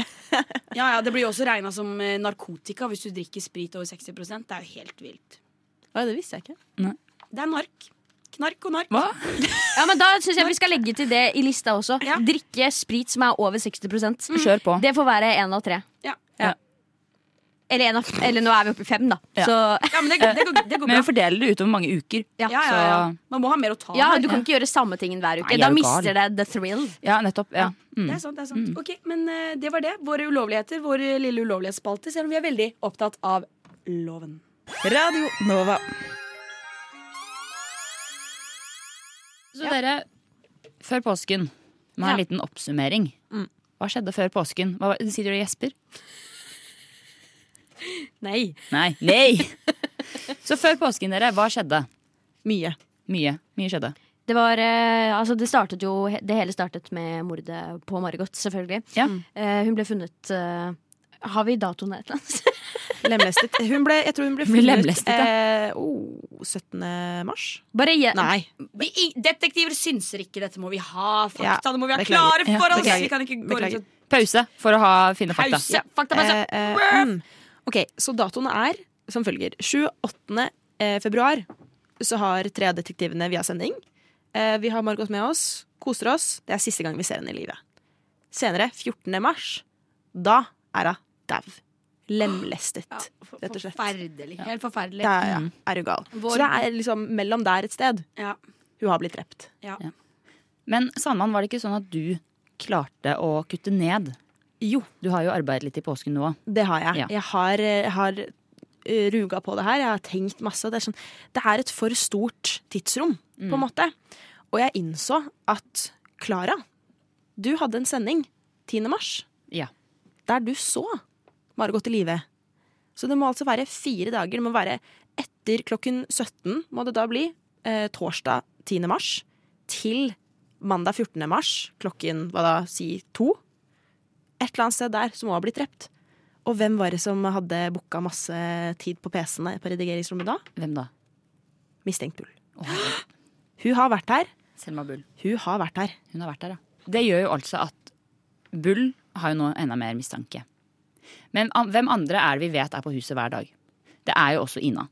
S6: Ja, ja, Det blir jo også regna som eh, narkotika hvis du drikker sprit over 60 Det er jo helt vilt.
S8: Oi, det visste jeg ikke.
S6: Det er nark. Knark og nark.
S5: Hva?
S12: Ja, men Da syns jeg vi skal legge til det i lista også.
S6: Ja. Mm.
S12: Drikke sprit som er over 60
S5: Kjør på.
S12: Det får være én av tre.
S6: Ja.
S5: Ja.
S12: Eller, en av, eller nå er vi oppe i fem, da.
S5: Ja.
S12: Så
S6: Ja, men det, går- det, går, det går
S5: Men
S6: bra.
S5: vi fordeler det utover mange uker.
S6: Ja, ja, ja, ja.
S5: Så-
S6: Man må ha mer å ta av.
S12: ja,
S6: her.
S12: du kan ikke gjøre samme tingen hver uke.
S5: Nei, jeg er
S12: Da
S5: jo
S12: mister det the thrill.
S5: Ja, nettopp. Ja.
S6: Det er sant, det er
S5: Mm.
S6: sant. Ok, Men eh, det var det. Våre ulovligheter. Vår eh, lille ulovlighetsspalte. Selv om vi er veldig opptatt av loven.
S8: Radio Nova.
S5: Så dere, før påsken, må ha en liten oppsummering. Hva skjedde før påsken? Hva, var- sitter du og gjesper?
S6: Nei.
S5: Nei. Nei! Så før påsken, dere, hva skjedde?
S8: Mye.
S5: Mye. Mye skjedde.
S12: Det var, eh, altså det, startet jo, det hele startet med mordet på Margot, selvfølgelig.
S5: Ja.
S6: Mm.
S12: Eh, hun ble funnet eh, Har vi datoen et eller annet?
S8: Lemlestet. Hun ble, jeg tror hun ble
S5: Hun ble
S8: funnet
S5: lemlestet,
S8: eh, oh, 17. mars.
S12: Bare
S6: Eh,
S12: gje-
S8: Nei.
S6: Vi, i- detektiver synser ikke. Dette må vi ha. Fakta
S8: Ja,
S6: det må vi ha
S8: beklager.
S6: klare
S5: Ja,
S6: for oss.
S8: beklager.
S6: Vi kan ikke gå rundt
S8: Beklager.
S6: og
S5: Pause for å ha finne fakta.
S6: pause. Fakta, pause.
S8: Eh, eh, mm. Ok, så datoene er som følger. 28. eh, februar så har tre av detektivene via sending. Eh, Vi har Margot med oss, koser oss. Det er siste gang vi ser henne i livet. Senere, 14. mars, da er hun dau. Lemlestet, rett og slett.
S6: Forferdelig. Helt forferdelig.
S8: Ja, ja, er du gal.
S6: Vår-
S8: Så det er liksom mellom der et sted.
S6: Ja.
S8: Hun har blitt drept.
S6: ja.
S5: Men Sandmann, var det ikke sånn at du klarte å kutte ned?
S8: Jo.
S5: Du har jo arbeidet litt i påsken nå.
S8: Det har jeg.
S5: Ja.
S8: Jeg har, eh, har eh, ruga på det her. Jeg har tenkt masse. Det er, sånn, det er et for stort tidsrom, på en måte. Og jeg innså at Klara, du hadde en sending 10. mars
S5: Ja.
S8: der du så Margot i live. Så det må altså være fire dager. Det må være etter klokken 17, må det da bli, eh, torsdag 10. mars, til mandag 14. mars klokken hva da, si to. Et eller annet sted der som må ha blitt drept. Og hvem var det som hadde booka masse tid på PC-ene på redigeringsrommet da?
S5: Hvem da?
S8: Mistenkt Bull. Hun har vært her.
S5: Selma Bull.
S8: Hun har vært her.
S5: Hun har vært der, ja. Det gjør jo altså at Bull har jo nå enda mer mistanke. Men an- hvem andre er det vi vet er på huset hver dag? Det er jo også Ina.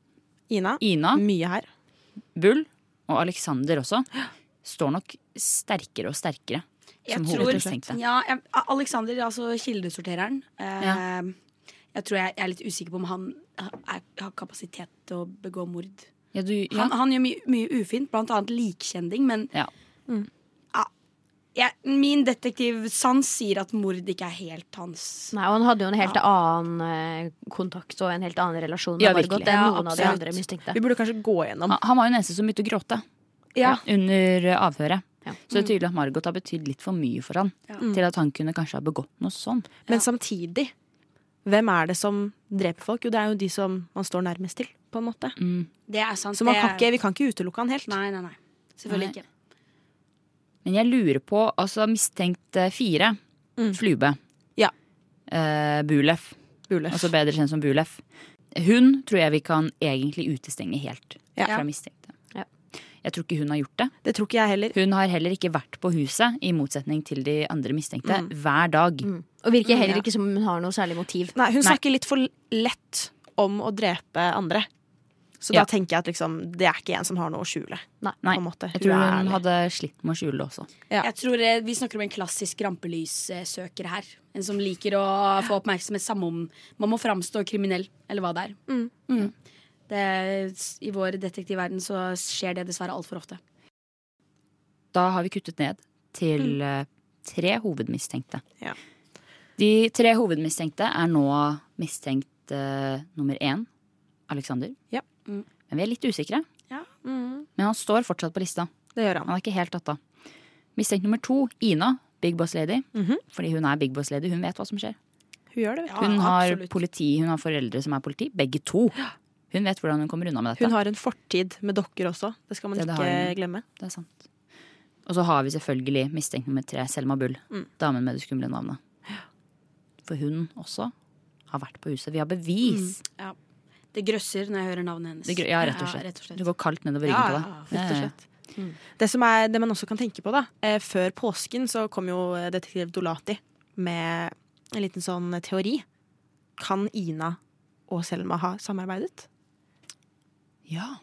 S8: Ina.
S5: Ina,
S8: Mye her.
S5: Bull og Alexander også står nok sterkere og sterkere
S6: Jeg
S5: som
S6: tror
S5: hovedmistenkte.
S6: ja, jeg- Alexander, altså kildesortereren eh,
S5: Ja.
S6: Jeg tror jeg, jeg er litt usikker på om han er, har kapasitet til å begå mord.
S5: Ja, du, ja.
S6: Han, han gjør mye, mye ufint, blant annet likkjending, men
S5: Ja.
S6: jeg, min detektivsans sier at mord ikke er helt hans.
S12: Nei, og han hadde jo en helt annen eh, kontakt og en helt annen relasjon med
S5: Ja,
S12: Margot
S5: virkelig.
S12: enn
S6: Ja,
S12: noen av de
S6: absolutt.
S12: andre mistenkte.
S8: Vi burde kanskje gå gjennom.
S5: Han- Han var jo den eneste som begynte å gråte
S8: Ja.
S5: under eh, avhøret. Så
S6: Mm.
S5: det er tydelig at Margot har betydd litt for mye for han
S8: Ja.
S5: til at han kunne kanskje ha begått noe sånn.
S8: Men samtidig, hvem er det som dreper folk? Jo, det er jo de som man står nærmest til, på en måte.
S5: Mm.
S6: Det er sant.
S8: Så man
S6: det
S8: kan
S6: er-
S8: ikke, vi kan ikke utelukke han helt.
S6: Nei, nei, nei. Selvfølgelig ikke.
S5: Men jeg lurer på, altså mistenkt eh, fire, Flube.
S8: Mm. Ja.
S5: Eh, Bulef. Altså bedre kjent som Bulef. Hun tror jeg vi kan egentlig utestenge helt
S8: Ja.
S5: fra mistenkte. Jeg tror ikke hun har gjort det.
S8: Det tror ikke jeg heller.
S5: Hun har heller ikke vært på huset, i motsetning til de andre mistenkte,
S12: Mm.
S5: hver dag.
S12: Og virker
S10: Mm.
S12: heller
S5: Ja.
S12: ikke som hun har noe særlig motiv.
S8: Nei, hun snakker litt for lett om å drepe andre. Så
S5: Ja.
S8: da tenker jeg at liksom, det er ikke en som har noe å skjule.
S5: Nei,
S8: på en måte.
S5: jeg tror
S8: Hun er
S5: hun
S8: ærlig.
S5: hadde slitt med å skjule det også.
S6: Jeg tror eh, Vi snakker om en klassisk rampelyssøker her. En som liker å få oppmerksomhet samme om man må framstå kriminell, eller hva det er. Mm. Det, I vår detektivverden så skjer det dessverre altfor ofte.
S5: Da har vi kuttet ned til eh, tre hovedmistenkte.
S8: Mm. Ja.
S5: De tre hovedmistenkte er nå mistenkt eh, nummer én, Alexander.
S8: Ja. Mm.
S5: Men vi er litt usikre.
S6: Ja.
S5: Men han står fortsatt på lista.
S8: Det gjør han.
S5: Han er ikke helt tatt av. Mistenkt nummer to, Ina, Big Boss Lady.
S8: Mhm. Ah,
S5: Fordi hun er Big Boss Lady, hun vet hva som skjer.
S8: Hun gjør det, vet du.
S5: Hun har politi, hun har foreldre som er politi. Begge to. Hun vet hvordan hun kommer unna med dette.
S8: Hun har en fortid med dokker også. Det skal man
S5: Det- det
S8: ikke
S5: har hun.
S8: glemme.
S5: Det er sant. Og så har vi selvfølgelig mistenkt nummer tre, Selma Bull.
S8: Mm.
S5: Damen med det skumle navnet. For hun også har vært på huset. Vi har bevis.
S6: Ja. Det grøsser når jeg hører navnet hennes.
S5: Det gr- ja, rett og slett. Du går kaldt nedover ryggen
S6: Ja,
S5: på
S6: ja,
S5: deg.
S6: ja.
S8: Rett og
S5: Ja, ja, ja.
S8: slett. Mm. Det, som er, det man også kan tenke på, da. eh, Før påsken så kom jo eh, detektiv Dolati med en liten sånn teori. Kan Ina og Selma ha samarbeidet?
S5: Ja.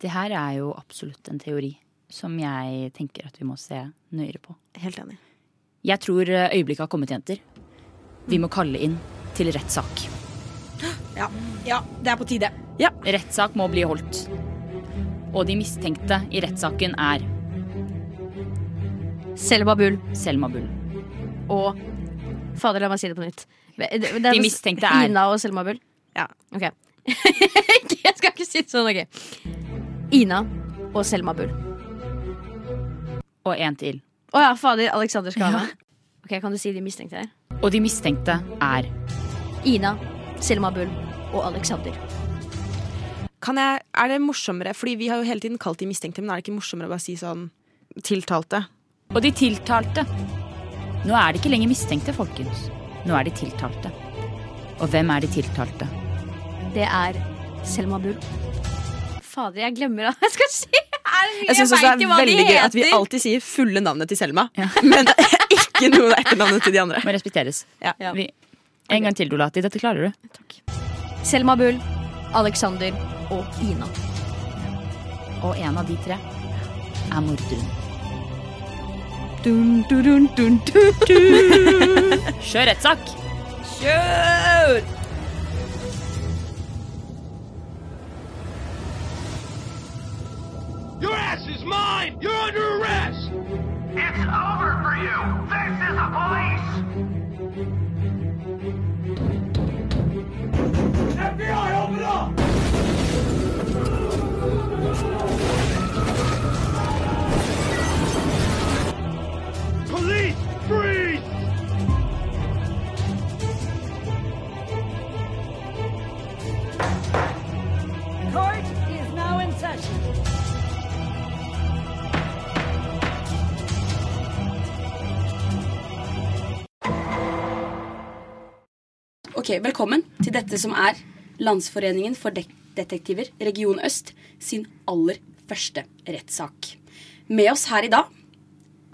S5: Det her er jo absolutt en teori som jeg tenker at vi må se nøyere på.
S8: Helt enig.
S5: Jeg tror eh, øyeblikket har kommet, jenter. Vi må kalle inn til rettssak.
S6: Ja. ja, det er på tide.
S5: Ja. Rettssak må bli holdt. Og de mistenkte i rettssaken er
S12: Selma Bull
S5: Selma Bull.
S12: og Fader, la meg si det på nytt. Det- det- det-
S5: De mistenkte er-
S12: Ina og Selma Bull?
S8: Ja.
S12: Ok. jeg skal ikke si det sånn, OK. Ina og Selma Bull.
S5: Og en til.
S12: Å ja, fader. Alexander skal ha med. Ok, Kan du si de mistenkte her?
S5: Og de mistenkte er
S12: Ina, Selma Bull og Alexander.
S8: Kan jeg, er det morsommere, fordi vi har jo hele tiden kalt de mistenkte, men er det ikke morsommere å bare si sånn tiltalte?
S5: Og de tiltalte. Nå er det ikke lenger mistenkte, folkens. Nå er de tiltalte. Og hvem er de tiltalte?
S12: Det er Selma Bull. Fader, jeg glemmer hva jeg skal si! Er det mye?
S8: Jeg
S12: vet
S8: syns også det
S12: ikke
S8: er
S12: hva de
S8: veldig gøy at vi
S12: heter.
S8: alltid sier fulle navnet til Selma, men det er ikke noe av etternavnet til de andre.
S5: Må respekteres.
S8: Ja.
S5: Vi, en gang til, Dolati. Dette klarer du.
S12: Selma Bull, Alexander og Ina.
S5: Og en av de tre er morderen.
S12: Dun, dun, dun, dun, dun, dun.
S5: Kjør rettssak!
S13: Your ass is mine! You're under arrest! It's over for you! This is the police! FBI, open up! Police, freeze!
S14: Court is now in session.
S6: Ok, Velkommen til dette som er Landsforeningen for dek detektiver Region Øst sin aller første rettssak. Med oss her i dag,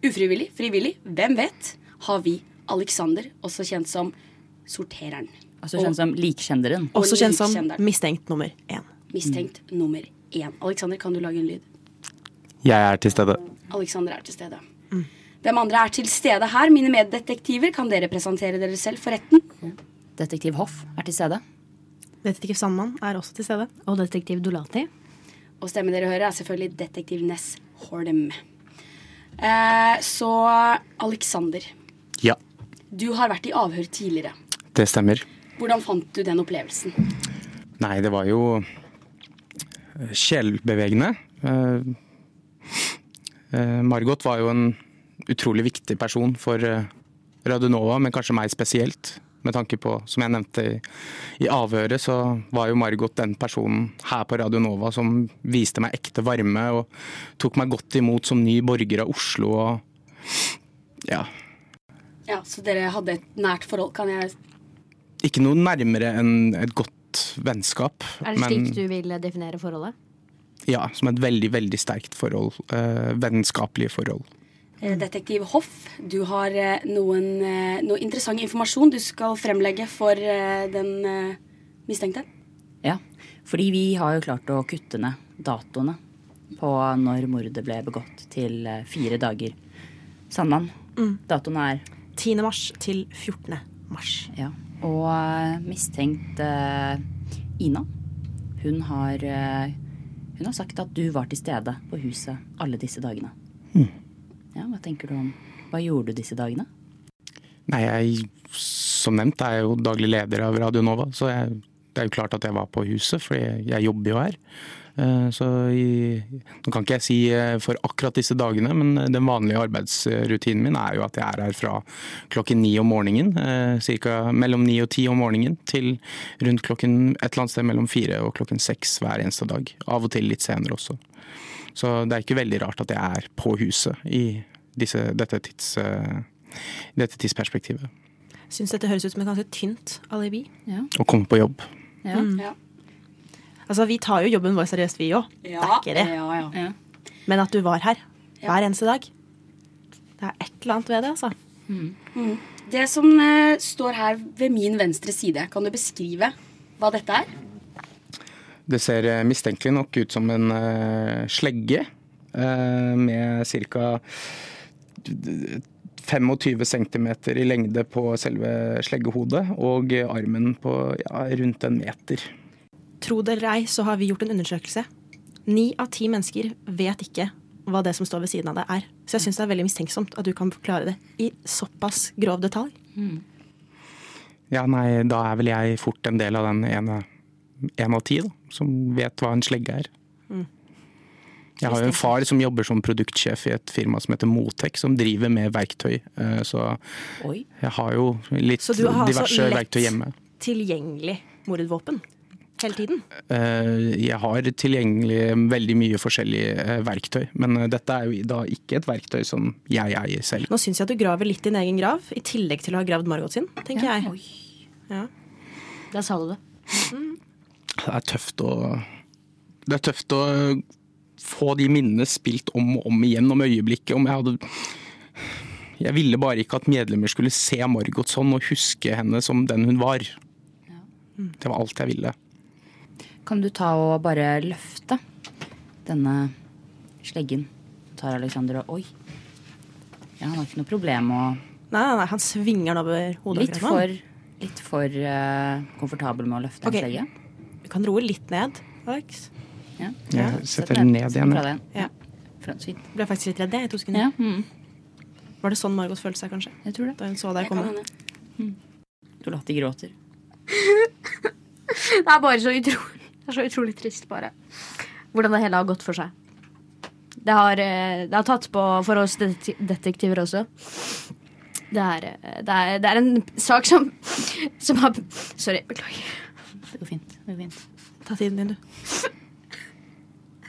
S6: ufrivillig, frivillig, hvem vet, har vi Alexander, også kjent som Sortereren.
S5: Altså kjent som likkjenderen.
S8: Også kjent som
S6: likkjenderen.
S8: mistenkt nummer én.
S6: Mistenkt nummer én. Alexander, kan du lage en lyd?
S15: Jeg er til stede.
S6: Alexander er til stede. Hvem andre er til stede her? Mine meddetektiver, kan dere presentere dere selv for retten?
S5: Detektiv Hoff er til stede.
S8: Detektiv Sandmann er også til stede.
S12: Og detektiv Dolati.
S6: Og stemmen dere hører, er selvfølgelig detektiv Ness Hordem. Eh, så Alexander,
S15: Ja,
S6: du har vært i avhør tidligere.
S15: det stemmer.
S6: Hvordan fant du den opplevelsen?
S15: Nei, det var jo sjelbevegende. Eh,
S8: Eh, Margot var jo en utrolig viktig person for eh, Radionova, men kanskje meg spesielt. Med tanke på, som jeg nevnte i, i avhøret, så var jo Margot den personen her på Radionova som viste meg ekte varme og tok meg godt imot som ny borger av Oslo og ja.
S16: Ja, Så dere hadde et nært forhold, kan jeg
S8: Ikke noe nærmere enn et godt vennskap.
S6: Er det slik du vil definere forholdet?
S8: Ja, som et veldig, veldig sterkt forhold. Eh, vennskapelige forhold.
S16: Eh, Detektiv Hoff, du har eh, noen, eh, noe interessant informasjon du skal fremlegge for eh, den eh, mistenkte.
S5: Ja, fordi vi har jo klart å kutte ned datoene på når mordet ble begått, til eh, fire dager. Sandmann, datoen er
S17: 10. mars til 14. mars.
S5: Ja. Og eh, mistenkt eh, Ina, hun har, eh, hun har sagt at du var til stede på huset alle disse dagene.
S8: Mm.
S5: Ja, hva tenker du om Hva gjorde du disse dagene?
S8: Nei, jeg, som nevnt, er jeg jo daglig leder av Radio Nova, så jeg, det er jo klart at jeg var på huset, for jeg, jeg jobber jo her. Eh, Så i, nå kan ikke jeg si eh, for akkurat disse dagene, men den vanlige arbeidsrutinen min er jo at jeg er her fra klokken ni om morgenen, eh, cirka mellom ni og ti om morgenen, til rundt klokken et eller annet sted mellom fire og klokken seks hver eneste dag. Av og til litt senere også. Så det er ikke veldig rart at jeg er på huset i disse, dette, tids, eh, dette tidsperspektivet.
S17: Syns dette høres ut som et ganske tynt alibi. Mm.
S8: Å komme på jobb.
S5: Ja.
S17: Altså, vi tar jo jobben vår seriøst, vi òg.
S16: Ja,
S17: det er ikke det.
S16: ja,
S5: ja.
S17: Men at du var her hver eneste dag Det er et eller annet ved det, altså.
S16: Mm. Det som eh, står her ved min venstre side, kan du beskrive hva dette er?
S8: Det ser eh, mistenkelig nok ut som en eh, slegge eh, med ca. 25 cm i lengde på selve sleggehodet, og eh, armen på ja, rundt en meter.
S17: Tro det eller ei, så har vi gjort en undersøkelse. Ni av ti mennesker vet ikke hva det som står ved siden av deg, er. Så jeg syns det er veldig mistenksomt at du kan forklare det i såpass grov detalj.
S8: Ja, nei, da er vel jeg fort en del av den ene en av ti da, som vet hva en slegge er.
S17: Mm.
S8: Jeg har jo en far som jobber som produktsjef i et firma som heter Motek, som driver med verktøy. eh, Så
S5: Oi.
S8: jeg har jo litt
S17: Så du har
S8: diverse
S17: altså lett
S8: verktøy hjemme.
S17: tilgjengelig mordvåpen hele tiden.
S8: Eh, Jeg har tilgjengelig veldig mye forskjellige eh, verktøy, men eh, dette er jo da ikke et verktøy som jeg eier selv.
S17: Nå syns jeg at du graver litt din egen grav, i tillegg til å ha gravd Margot sin, tenker jeg. Ja.
S6: Der sa du det.
S8: Det er tøft å Det er tøft å få de minnene spilt om og om igjen om øyeblikket. Om jeg hadde Jeg ville bare ikke at medlemmer skulle se Margot sånn og huske henne som den hun var. Det var alt jeg ville.
S5: Kan du ta og bare løfte denne sleggen? Tar Alexander og Oi. Ja, han har ikke noe problem med å
S17: Nei, nei, nei, han svinger den over hodet.
S5: Litt
S17: akkurat
S5: for,
S17: nå.
S5: litt for eh, komfortabel med å løfte
S17: Ok.
S5: en slegge.
S17: Du kan roe litt ned, Alex.
S5: Ja.
S8: Jeg setter den ned igjen,
S5: Fra
S8: jeg.
S5: deg.
S17: Ja.
S5: Fra- fint.
S17: Ble faktisk litt redd jeg i to sekunder. Var det sånn Margot følte seg, kanskje?
S5: Jeg tror det.
S17: Da hun så deg komme.
S5: Du latter gråter.
S6: Det er bare så utrolig, det er så utrolig trist, bare. Hvordan det hele har gått for seg. Det har, eh, det har tatt på for oss detekti- detektiver også. Det er, eh, det er, det er en sak som, som har Sorry, beklager.
S5: Det går fint. Det går fint.
S17: Ta tiden din, du.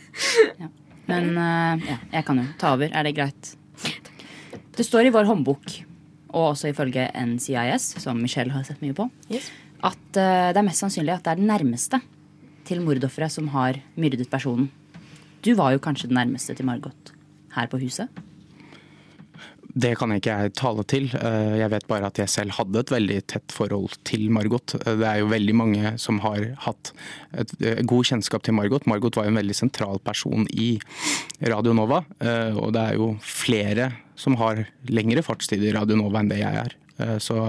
S5: Men eh, ja, jeg kan jo ta over. Er det greit? Det står i vår håndbok, og også ifølge NCIS, som Michelle har sett mye på, at eh, det er mest sannsynlig at det er den nærmeste til mordofferet som har myrdet personen. Du var jo kanskje den nærmeste til Margot her på huset.
S8: Det kan ikke jeg tale til. Eh, Jeg vet bare at jeg selv hadde et veldig tett forhold til Margot. Eh, Det er jo veldig mange som har hatt et eh, god kjennskap til Margot. Margot var jo en veldig sentral person i Radio Nova, eh, og det er jo flere som har lengre fartstid i Radio Nova enn det jeg er. Eh, Så,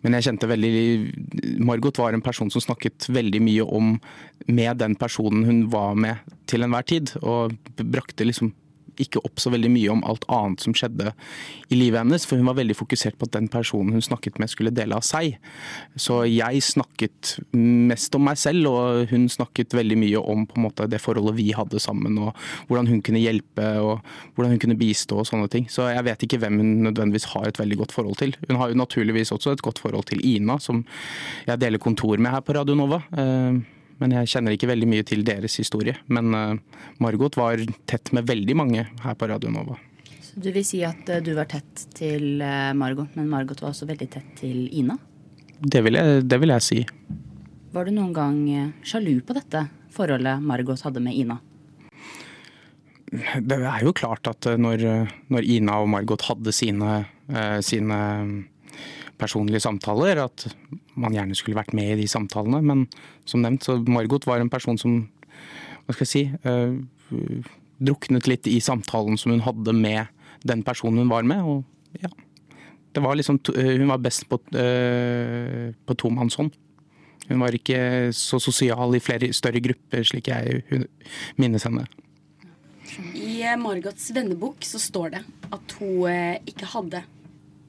S8: men jeg kjente veldig Margot var en person som snakket veldig mye om med den personen hun var med til enhver tid, og brakte liksom ikke opp så veldig mye om alt annet som skjedde i livet hennes, for hun var veldig fokusert på at den personen hun snakket med skulle dele av seg. Så jeg snakket mest om meg selv, og hun snakket veldig mye om på en måte, det forholdet vi hadde sammen, og hvordan hun kunne hjelpe og hvordan hun kunne bistå og sånne ting. Så jeg vet ikke hvem hun nødvendigvis har et veldig godt forhold til. Hun har jo naturligvis også et godt forhold til Ina, som jeg deler kontor med her på Radio Nova. Eh, men jeg kjenner ikke veldig mye til deres historie. Men eh, Margot var tett med veldig mange her på Radio Nova.
S5: Så du vil si at eh, du var tett til eh, Margot, men Margot var også veldig tett til Ina.
S8: Det vil jeg, det vil jeg si.
S5: Var du noen gang eh, sjalu på dette forholdet Margot hadde med Ina?
S8: Det er jo klart at eh, når, når Ina og Margot hadde sine, eh, sine personlige samtaler, at man gjerne skulle vært med i de samtalene. Men som nevnt, så Margot var en person som hva skal jeg si, eh, druknet litt i samtalen som hun hadde med den personen hun var med. og ja, det var liksom, to- eh, Hun var best på, eh, på tomannshånd. Hun var ikke så sosial i flere, større grupper, slik jeg hun- minnes henne.
S9: I eh, Margots vennebok så står det at hun eh, ikke hadde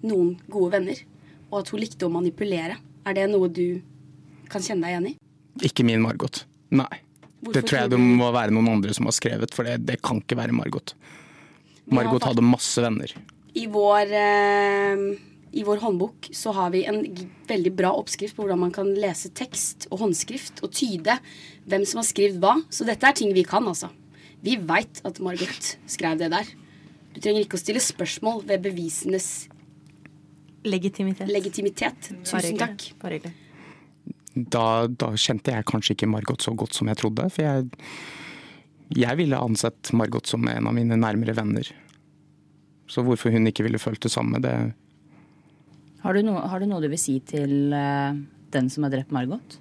S9: noen gode venner, og at hun likte å manipulere. Er det noe du kan kjenne deg igjen i?
S8: Ikke min Margot. Nei. det
S9: Hvorfor
S8: tror jeg
S9: tror
S8: det
S9: du-
S8: må være noen andre som har skrevet, for det, det kan ikke være Margot.
S9: Vi har
S8: Margot
S9: fakt-
S8: hadde masse venner.
S9: I vår, eh, I vår håndbok så har vi en g- veldig bra oppskrift på hvordan man kan lese tekst og håndskrift og tyde hvem som har skrevet hva. Så dette er ting vi kan, altså. Vi veit at Margot skrev det der. Du trenger ikke å stille spørsmål ved bevisenes
S2: Legitimitet.
S9: Tusen takk.
S2: Bare hyggelig.
S8: Da, da kjente jeg kanskje ikke Margot så godt som jeg trodde. For jeg, jeg ville ansett Margot som en av mine nærmere venner. Så hvorfor hun ikke ville følt det samme, det,
S5: Har du, noe- har du noe du vil si til eh, den som har drept Margot?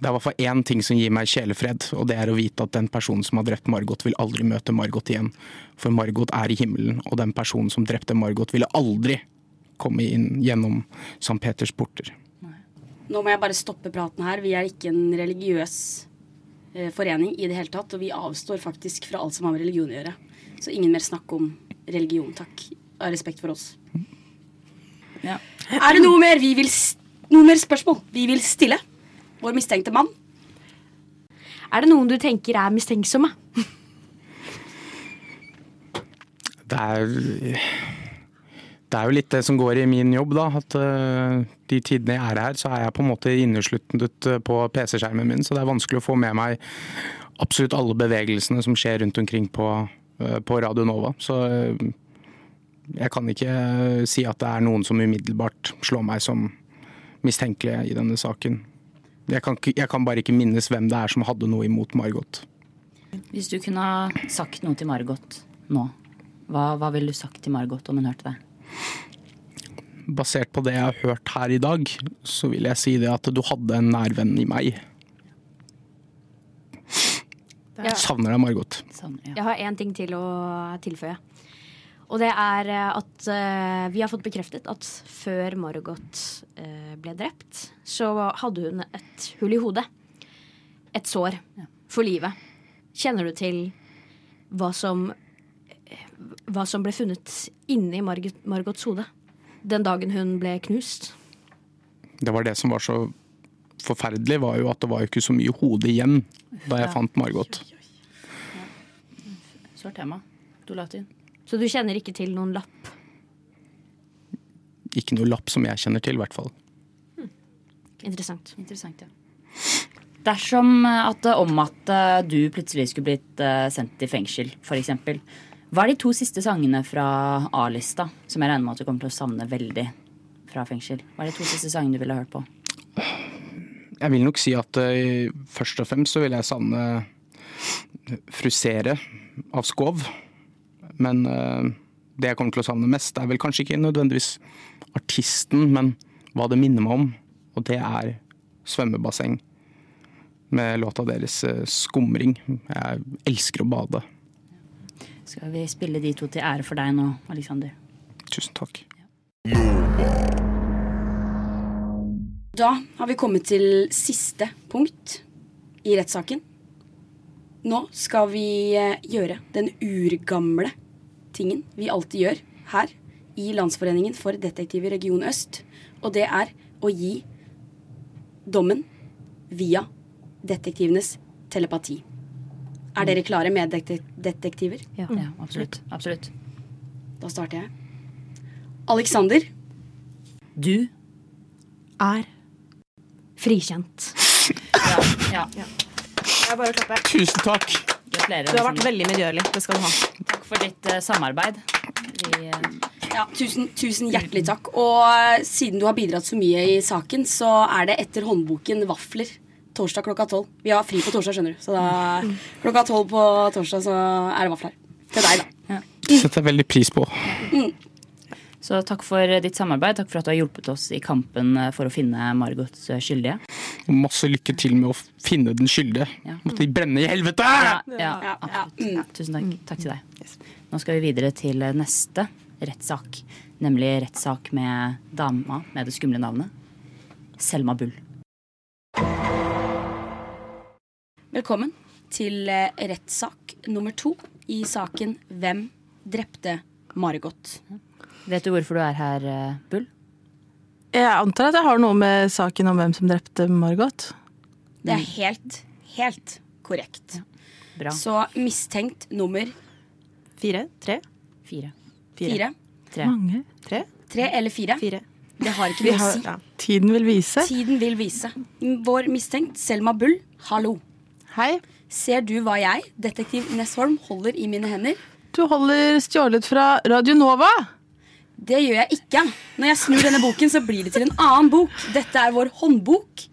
S8: Det er i hvert fall én ting som gir meg kjelefred, og det er å vite at den personen som har drept Margot, vil aldri møte Margot igjen. For Margot er i himmelen, og den personen som drepte Margot, ville aldri komme inn gjennom St. Peters porter.
S9: Nå må jeg bare stoppe praten her. Vi er ikke en religiøs eh, forening i det hele tatt. Og vi avstår faktisk fra alt som har med religion å gjøre. Så ingen mer snakk om religion, takk. Av respekt for oss. Er det noe mer vi vil s- Noe mer spørsmål vi vil stille? Vår mistenkte mann.
S6: Er det noen du tenker er mistenksomme?
S8: Det er, det er jo litt det som går i min jobb, da. At eh, de tidene jeg er her, så er jeg på en måte innesluttet eh, på PC-skjermen min, så det er vanskelig å få med meg absolutt alle bevegelsene som skjer rundt omkring på, eh, på Radio Nova. Så eh, jeg kan ikke eh, si at det er noen som umiddelbart slår meg som mistenkelige i denne saken. Jeg kan, ikke- jeg kan bare ikke minnes hvem det er som hadde noe imot Margot.
S5: Hvis du kunne ha sagt noe til Margot nå, hva, hva ville du sagt til Margot om hun hørte det?
S8: basert på det jeg har hørt her i dag, så vil jeg si det at du hadde en nær venn i meg.
S6: Ja.
S8: Savner deg, Margot.
S6: Jeg har én ting til å tilføye. Og det er eh, at eh, vi har fått bekreftet at før Margot eh, ble drept, så hadde hun et hull i hodet. Et sår for livet. Kjenner du til hva som, eh, hva som ble funnet inni Margot, Margots hode den dagen hun ble knust?
S8: Det var det som var så forferdelig, var jo at det var jo ikke så mye hode igjen da jeg
S5: Ja.
S8: fant Margot.
S5: Sårt tema. Du la til.
S6: Så du kjenner ikke til noen lapp?
S8: Ikke noe lapp som jeg kjenner til, i hvert fall.
S6: Interessant.
S5: ja. Dersom eh, at det om at eh, du plutselig skulle blitt eh, sendt i fengsel, f.eks. Hva er de to siste sangene fra A-lista som jeg regner med at du kommer til å savne veldig fra fengsel? Hva er de to siste sangene du ville hørt på?
S8: Jeg vil nok si at eh, først og fremst så vil jeg savne fru Sere av Skov. Men eh, det jeg kommer til å savne mest, er vel kanskje ikke nødvendigvis artisten, men hva det minner meg om. Og det er svømmebasseng med låta deres eh, 'Skumring'. Jeg elsker å bade.
S5: Skal vi spille de to til ære for deg nå, Alexander?
S8: Tusen takk.
S9: Da har vi kommet til siste punkt i rettssaken.
S6: Nå skal vi eh, gjøre den urgamle tingen vi alltid gjør her i Landsforeningen for detektiv i Region Øst. Og det er å gi dommen via detektivenes telepati. Er dere klare med detek detektiver?
S5: Ja, ja absolutt. absolutt.
S6: Da starter jeg. Alexander.
S5: Du
S12: er frikjent.
S5: Ja.
S8: Jeg bare klapper.
S15: Tusen takk.
S5: Gratulerer.
S8: Du har vært veldig medgjørlig. Det skal du ha.
S5: Takk for ditt eh, samarbeid. Vi, eh,
S6: Ja, tusen, tusen hjertelig takk. Og eh, siden du har bidratt så mye i saken, så er det etter håndboken vafler torsdag klokka tolv. Vi har fri på torsdag, skjønner du. Så da, klokka tolv på torsdag så er det vafler. Til deg, da.
S15: Setter jeg veldig pris på.
S5: Så takk for eh, ditt samarbeid. Takk for at du har hjulpet oss i kampen eh, for å finne Margots eh, skyldige.
S15: Og masse lykke til med å finne den skyldige. Måtte de brenne i helvete!
S5: Ja, ja, Mm. absolutt. Ja, Mm. tusen takk. Takk til deg. Nå skal vi videre til eh, neste rettssak. Nemlig rettssak med dama med det skumle navnet. Selma Bull.
S6: Velkommen til eh, rettssak nummer to i saken Hvem drepte Margot?
S5: Vet du hvorfor du er her, eh, Bull?
S9: Jeg antar at jeg har noe med saken om hvem som drepte Margot.
S6: Det er helt, helt korrekt.
S5: Bra.
S6: Så mistenkt nummer
S8: Fire? Tre?
S5: Fire.
S6: Fire.
S5: Tre.
S9: Mange. Tre?
S6: Tre eller fire? Det har ikke
S9: Vi
S6: noe å
S9: har-
S6: si.
S9: ja. Tiden vil vise.
S6: Tiden vil vise. Vår mistenkt Selma Bull, hallo.
S9: Hei.
S6: Ser du hva jeg, detektiv Nesholm, holder i mine hender?
S9: Du holder stjålet fra Radio Nova.
S6: Det gjør jeg ikke. Når jeg snur denne boken, så blir det til en annen bok. Dette er vår håndbok.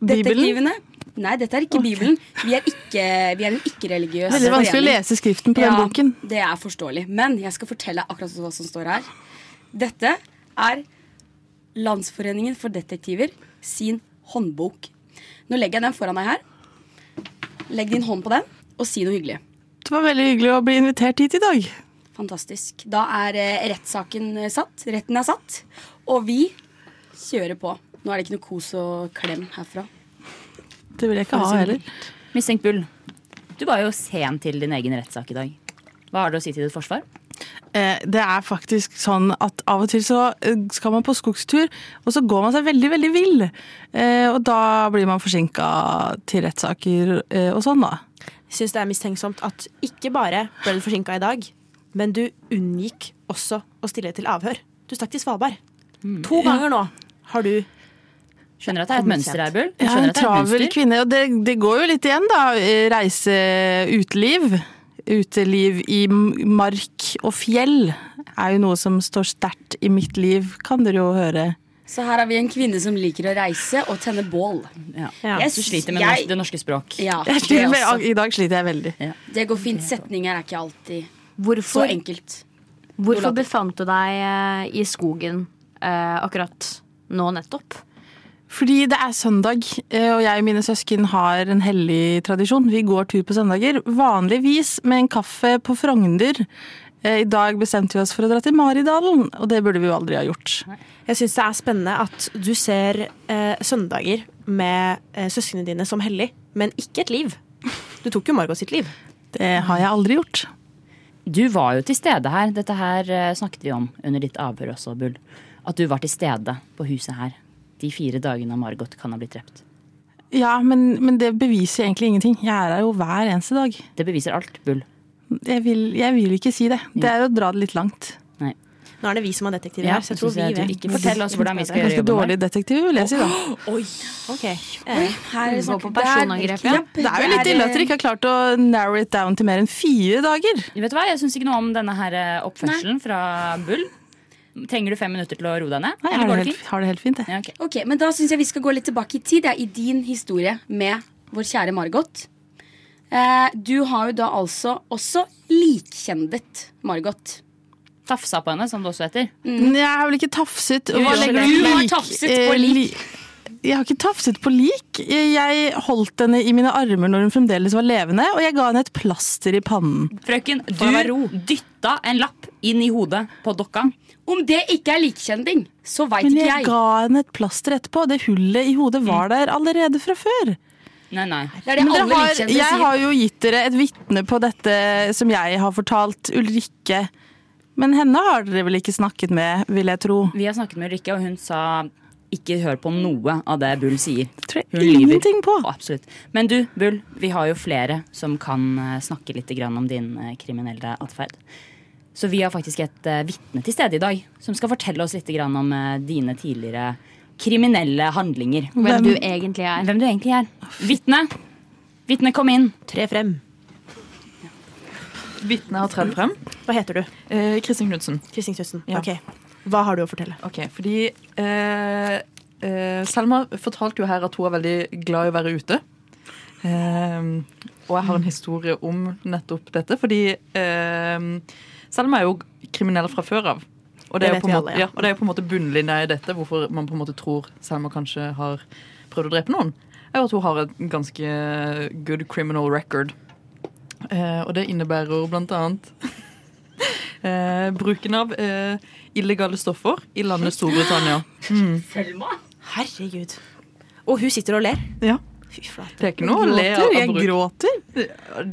S6: Detektivene. Nei, dette er ikke Bibelen. Vi er, ikke, vi er en ikke-religiøs
S9: Veldig vanskelig å
S6: forening.
S9: lese skriften på den boken.
S6: Det er forståelig. Men jeg skal fortelle akkurat hva som står her. Dette er Landsforeningen for detektiver sin håndbok. Nå legger jeg den foran deg her. Legg din hånd på den, og si noe hyggelig.
S9: Det var veldig hyggelig å bli invitert hit i dag.
S6: Fantastisk. Da er eh, rettssaken eh, satt. Retten er satt. Og vi kjører på. Nå er det ikke noe kos og klem herfra.
S9: Det vil jeg ikke ha heller.
S5: Mistenkt Bull, du var jo sen til din egen rettssak i dag. Hva har du å si til ditt forsvar?
S9: Eh, Det er faktisk sånn at av og til så eh, skal man på skogstur, og så går man seg veldig, veldig vill. Eh, Og da blir man forsinka til rettssaker eh, og sånn, da.
S8: Syns det er mistenksomt at ikke bare ble du forsinka i dag, men du unngikk også å stille til avhør. Du stakk til Svalbard. To ganger nå har du
S5: Skjønner at det er et mønster her, Bull.
S9: Jeg er
S5: Skjønner at det er
S9: en
S5: et
S9: travel
S5: mønster.
S9: kvinne, og det, det går jo litt igjen, da. Eh, Reise, uteliv. Uteliv i m- mark og fjell er jo noe som står sterkt i mitt liv, kan dere jo høre.
S6: Så her har vi en kvinne som liker å reise og tenne bål.
S5: Ja.
S6: Jeg
S5: Du
S6: syns-
S5: sliter med
S6: jeg-
S5: det norske språk.
S6: Ja,
S9: Jeg
S6: det
S9: sliter med-
S6: også.
S9: I dag sliter jeg veldig.
S6: Det går fint. Setninger er ikke alltid
S12: Hvorfor-
S6: så enkelt.
S12: Hvorfor befant du deg eh, i skogen eh, akkurat nå nettopp?
S9: Fordi det er søndag, eh, og jeg og mine søsken har en hellig tradisjon. Vi går tur på søndager, vanligvis med en kaffe på Frogner. Eh, I dag bestemte vi oss for å dra til Maridalen, og det burde vi jo aldri ha gjort.
S8: Jeg syns det er spennende at du ser eh, søndager med eh, søsknene dine som hellig, men ikke et liv. Du tok jo Margot sitt liv.
S9: Det har jeg aldri gjort.
S5: Du var jo til stede her. Dette her eh, snakket vi om under ditt avhør også, Bull. At du var til stede på huset her de fire dagene Margot kan ha blitt drept.
S9: Ja, men, men det beviser egentlig ingenting. Jeg er her jo hver eneste dag.
S5: Det beviser alt, Bull.
S9: Jeg vil, jeg vil ikke si det.
S8: Mm.
S9: Det er å dra det litt langt.
S5: Nei.
S8: Nå er det vi som er detektiver
S5: Ja,
S8: her, så jeg
S5: det
S8: tror
S5: synes
S8: vi
S5: jeg du
S8: vet.
S5: ikke- Fortell oss hvordan vi skal gjøre
S9: Ganske
S5: jobben
S9: dårlig detektiv, vil jeg si da.
S8: Oi. Ok.
S6: Her
S12: Gå
S6: snakker-
S12: på
S6: der-
S12: personangrep, ja.
S6: Ja,
S9: Det er jo litt ille
S5: eh,
S9: at dere ikke har klart å narrow it down til mer enn fire dager.
S5: Vet du hva, Jeg syns ikke noe om denne her eh, oppførselen fra Bull. Trenger du fem minutter til å roe deg ned?
S9: Nei, jeg
S5: Eller
S9: har
S5: går
S9: det
S5: det
S9: helt, har det helt fint, jeg.
S5: Ja, ok.
S6: Ok, men Da syns jeg vi skal gå litt tilbake i tid, ja, i din historie med vår kjære Margot. Eh, du har jo da altså også likkjendet Margot.
S5: Tafsa på henne, som det også heter.
S9: Men Jeg har vel ikke tafset.
S5: Jo, jo,
S9: legger
S5: du
S9: i
S5: har
S9: lik-
S5: tafset
S9: eh,
S5: på lik.
S9: li- Jeg har ikke tafset på lik. Jeg holdt henne i mine armer når hun fremdeles var levende, og jeg ga henne et plaster i pannen.
S5: Frøken, du dytta en lapp inn i hodet på dokka.
S6: Om det ikke er likkjending, så veit
S9: Men
S6: ikke
S9: jeg
S6: jeg.
S5: Mm.
S9: ga henne et plaster etterpå. Det hullet i hodet var der allerede fra før.
S5: Nei, nei.
S18: Det er det
S9: Men dere
S18: alle
S9: har-
S18: likkjente sier.
S9: Jeg har jo gitt dere et vitne på dette som jeg har fortalt Ulrikke. Men henne har dere vel ikke snakket med, vil jeg tro.
S5: Vi har snakket med Ulrikke, og hun sa ikke hør på noe av det Bull sier. Hun
S9: ingenting på.
S5: Absolutt. Men du, Bull, vi har jo flere som kan eh, snakke litt grann om din eh, kriminelle atferd. Så vi har faktisk et eh, vitne til stede i dag som skal fortelle oss litt grann om eh, dine tidligere kriminelle handlinger.
S19: Hvem du egentlig er.
S5: Hvem du egentlig er. Vitne! Vitne, kom inn.
S10: Tre frem. Vitne har tredd frem.
S2: Hva heter du?
S10: Eh, Kristin Knudsen.
S2: Kristin Knudsen.
S10: Ja.
S2: Ok. Hva har du å fortelle?
S10: Ok, fordi eh, eh, Selma fortalte jo her at hun er veldig glad i å være ute. Eh, og jeg har
S12: Mm.
S10: en historie om nettopp dette, fordi eh, Selma er jo kriminell fra før av. Og det,
S2: Det
S10: er
S2: vet
S10: jo på en
S2: vi
S10: måte,
S2: alle, ja.
S10: ja, og det er jo på en måte bunnlinja i dette, hvorfor man på en måte tror Selma kanskje har prøvd å drepe noen, er jo at hun har et ganske good criminal record. Eh, og det innebærer blant annet eh, bruken av eh, illegale stoffer i landet Storbritannia. Mm.
S5: Selma?
S2: Herregud. Og hun sitter og ler.
S10: Ja.
S2: Fy flate.
S10: Det er ikke noe å le av.
S9: Gråter, jeg
S10: gråter.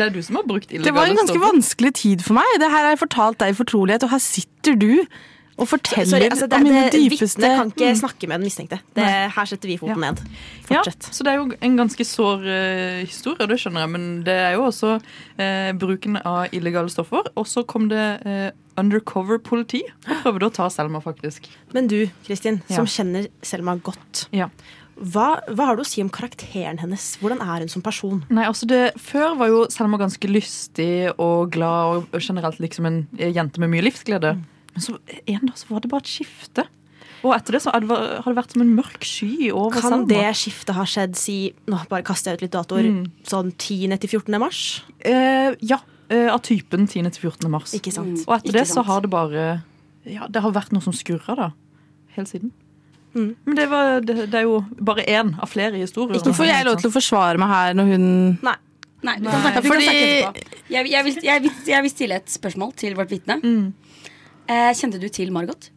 S10: Det er du som har brukt illegale
S9: Det var en ganske
S10: stoffer.
S9: vanskelig tid for meg. Det her har jeg fortalt deg i fortrolighet, og her sitter du og forteller
S2: Sorry, altså, det,
S9: om mine
S2: det,
S9: dypeste
S2: Vitnet kan ikke
S9: Mm.
S2: snakke med den mistenkte. Det, her setter vi foten ned.
S10: Ja, så det er jo en ganske sår eh, historie, det skjønner jeg, men det er jo også eh, bruken av illegale stoffer. Og så kom det eh, undercover politi og prøvde å ta Selma, faktisk.
S2: Men du, Kristin,
S10: Ja.
S2: som kjenner Selma godt. Hva, hva har du å si om karakteren hennes? Hvordan er hun som person?
S10: Nei, altså det, Før var jo Selma ganske lystig og glad og- og generelt liksom en eh, jente med mye livsglede.
S2: Mm.
S10: Men så en dag så var det bare et skifte. Og etter det så har det vært- har det vært som en mørk sky over
S2: Kan
S10: Selma.
S2: det skiftet ha skjedd, si Nå bare kaster jeg ut litt datoer.
S10: Mm.
S2: Sånn 10. til 14. mars?
S10: Eh, ja, eh, av typen 10. til 14. mars.
S2: Ikke sant.
S10: Og etter
S2: Ikke
S10: det så
S2: sant.
S10: har det bare Ja, det har vært noe som skurrer, da. Helt siden.
S2: Mm.
S10: Men det, var, det, det er jo bare én av flere historier.
S9: Ikke får jeg lov til å forsvare meg her når hun
S2: Nei.
S6: Nei, du kan snakke, du kan
S9: Fordi-
S6: snakke etterpå. Jeg, jeg, vil, jeg, vil, jeg vil stille et spørsmål til vårt vitne.
S9: Mm.
S6: Eh, kjente du til Margot?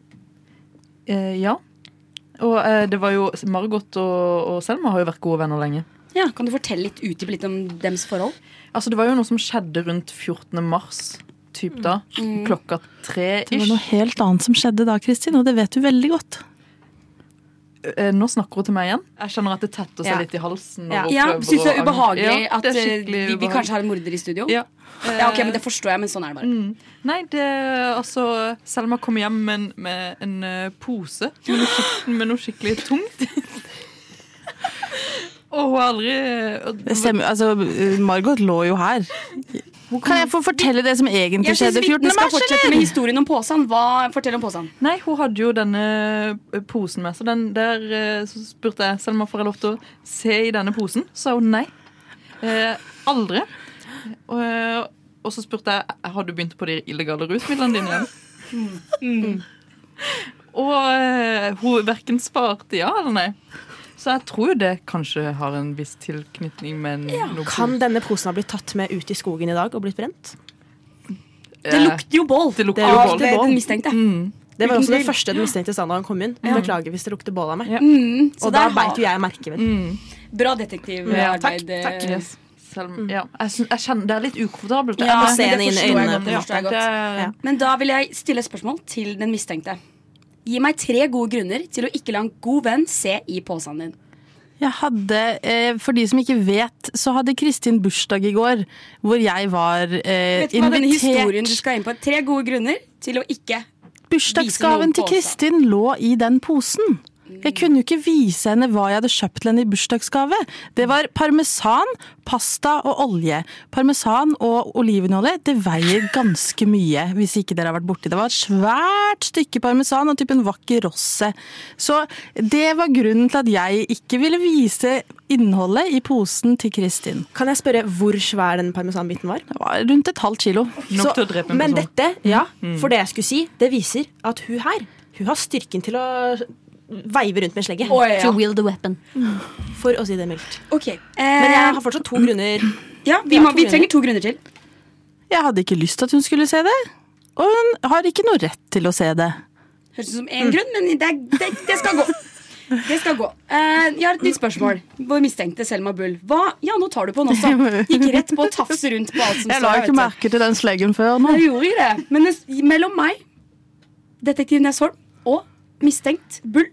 S10: Eh, ja. Og eh, det var jo Margot og, og Selma har jo vært gode venner lenge.
S6: Ja, Kan du fortelle litt utdype litt om dems forhold?
S10: Altså, det var jo noe som skjedde rundt 14. mars, typ da.
S6: Mm.
S10: Klokka
S9: Det var
S10: tre-ish.
S9: noe helt annet som skjedde da, Kristin, og det vet du veldig godt.
S10: Eh, Nå snakker hun til meg igjen. Jeg kjenner at det tetter seg
S9: Ja.
S10: litt i halsen. når
S6: Ja,
S10: hun
S6: ja
S10: prøver
S6: Syns du det er
S10: å-
S6: ubehagelig
S10: Ja,
S6: at
S10: det er
S6: eh,
S10: skikkelig
S6: vi, vi
S10: ubehagelig.
S6: kanskje har en morder i studio?
S10: Ja.
S6: ja, ok, men Det forstår jeg, men sånn er det bare.
S10: Mm. Nei, det altså Selma kom hjem med en, med en eh, pose med noe, skik- med noe skikkelig tungt. Og hun har aldri og-
S9: Det stemmer, altså, Margot lå jo her. Kan jeg få fortelle det som egentlig
S6: Jeg syns
S9: skjedde 14.
S6: vitnet skal
S9: mars,
S6: fortsette med
S9: eller?
S6: historien om påsen. Hva, fortell om påsen.
S10: Nei, hun hadde jo denne eh, posen med seg. Den der eh, så spurte jeg Selma får jeg lov til å se i denne posen. Så sa hun nei. Eh, aldri. Og, eh, og så spurte jeg "Eh, har du begynt på de illegale rusmidlene dine igjen. Og eh, hun verken svarte ja eller nei. Så jeg tror jo det kanskje har en viss tilknytning med en- noe
S2: Kan denne posen ha blitt tatt med ut i skogen i dag og blitt brent?
S9: Eh,
S10: Det lukter
S6: jo bål.
S10: Det lukter
S2: Det
S10: jo
S2: lukter
S10: bål.
S2: bål.
S6: Den mistenkte.
S9: Mm.
S2: Det var
S6: Uten
S2: også det
S6: tvil.
S2: første den mistenkte sa da han kom inn. Beklager hvis det lukter bål av meg.
S6: Mm, så
S2: og da
S6: der har-
S2: beit jo jeg merke, vel.
S6: Bra detektivarbeid.
S2: Ja, takk,
S6: eh,
S2: takk. Yes.
S10: Selv,
S2: Mm.
S10: ja. jeg, syns- jeg kjenner Det er litt ukomfortabelt.
S6: Ja,
S10: Jeg må
S6: men
S10: se
S6: det
S10: henne inn i
S6: forstår jeg
S10: øynene.
S6: godt, det forstår jeg
S10: Ja,
S6: godt.
S10: det-
S6: eh. Men da vil jeg stille et spørsmål til den mistenkte. Gi meg tre gode grunner til å ikke la en god venn se i posen din.
S9: Jeg hadde, eh, For de som ikke vet, så hadde Kristin bursdag i går, hvor jeg var eh,
S6: Vet du hva denne historien du
S9: invitert.
S6: skal inn på? Tre gode grunner til å ikke
S9: Bursdagsgaven til Kristin lå i den posen. Jeg kunne jo ikke vise henne hva jeg hadde kjøpt til henne i bursdagsgave. Det var parmesan, pasta og olje. Parmesan og olivenolje det veier ganske mye, hvis ikke dere har vært borti det. Det var et svært stykke parmesan av typen vakker rosse. Så det var grunnen til at jeg ikke ville vise innholdet i posen til Kristin.
S2: Kan jeg spørre hvor svær den parmesanbiten var?
S9: Det var rundt et halvt kilo.
S2: Så- men dette, ja,
S9: Mm,
S2: for det jeg skulle si, det viser at hun her Hun har styrken til å veive rundt med slegge.
S19: Å, ja. To
S2: wield a weapon. For å si det mildt.
S6: Ok, eh,
S2: Men jeg har fortsatt to grunner.
S6: Ja, vi,
S9: Ja,
S6: må,
S9: to
S6: vi
S9: grunner.
S6: trenger to grunner til.
S9: Jeg hadde ikke lyst til at hun skulle se det, og hun har ikke noe rett til å se det.
S6: Høres ut som én grunn, men det, er- det, det skal gå. Det skal gå. Eh, jeg har et nytt spørsmål. Vår mistenkte Selma Bull. Hva? Ja, nå tar du på den også. Gikk rett på å tafse rundt på alt som
S20: Jeg la
S6: her,
S20: ikke
S6: vet
S20: merke til den sleggen før
S6: du.
S20: nå.
S6: Jeg gjorde ikke det. Men nes- mellom meg, detektiv Nesholm, og mistenkt Bull,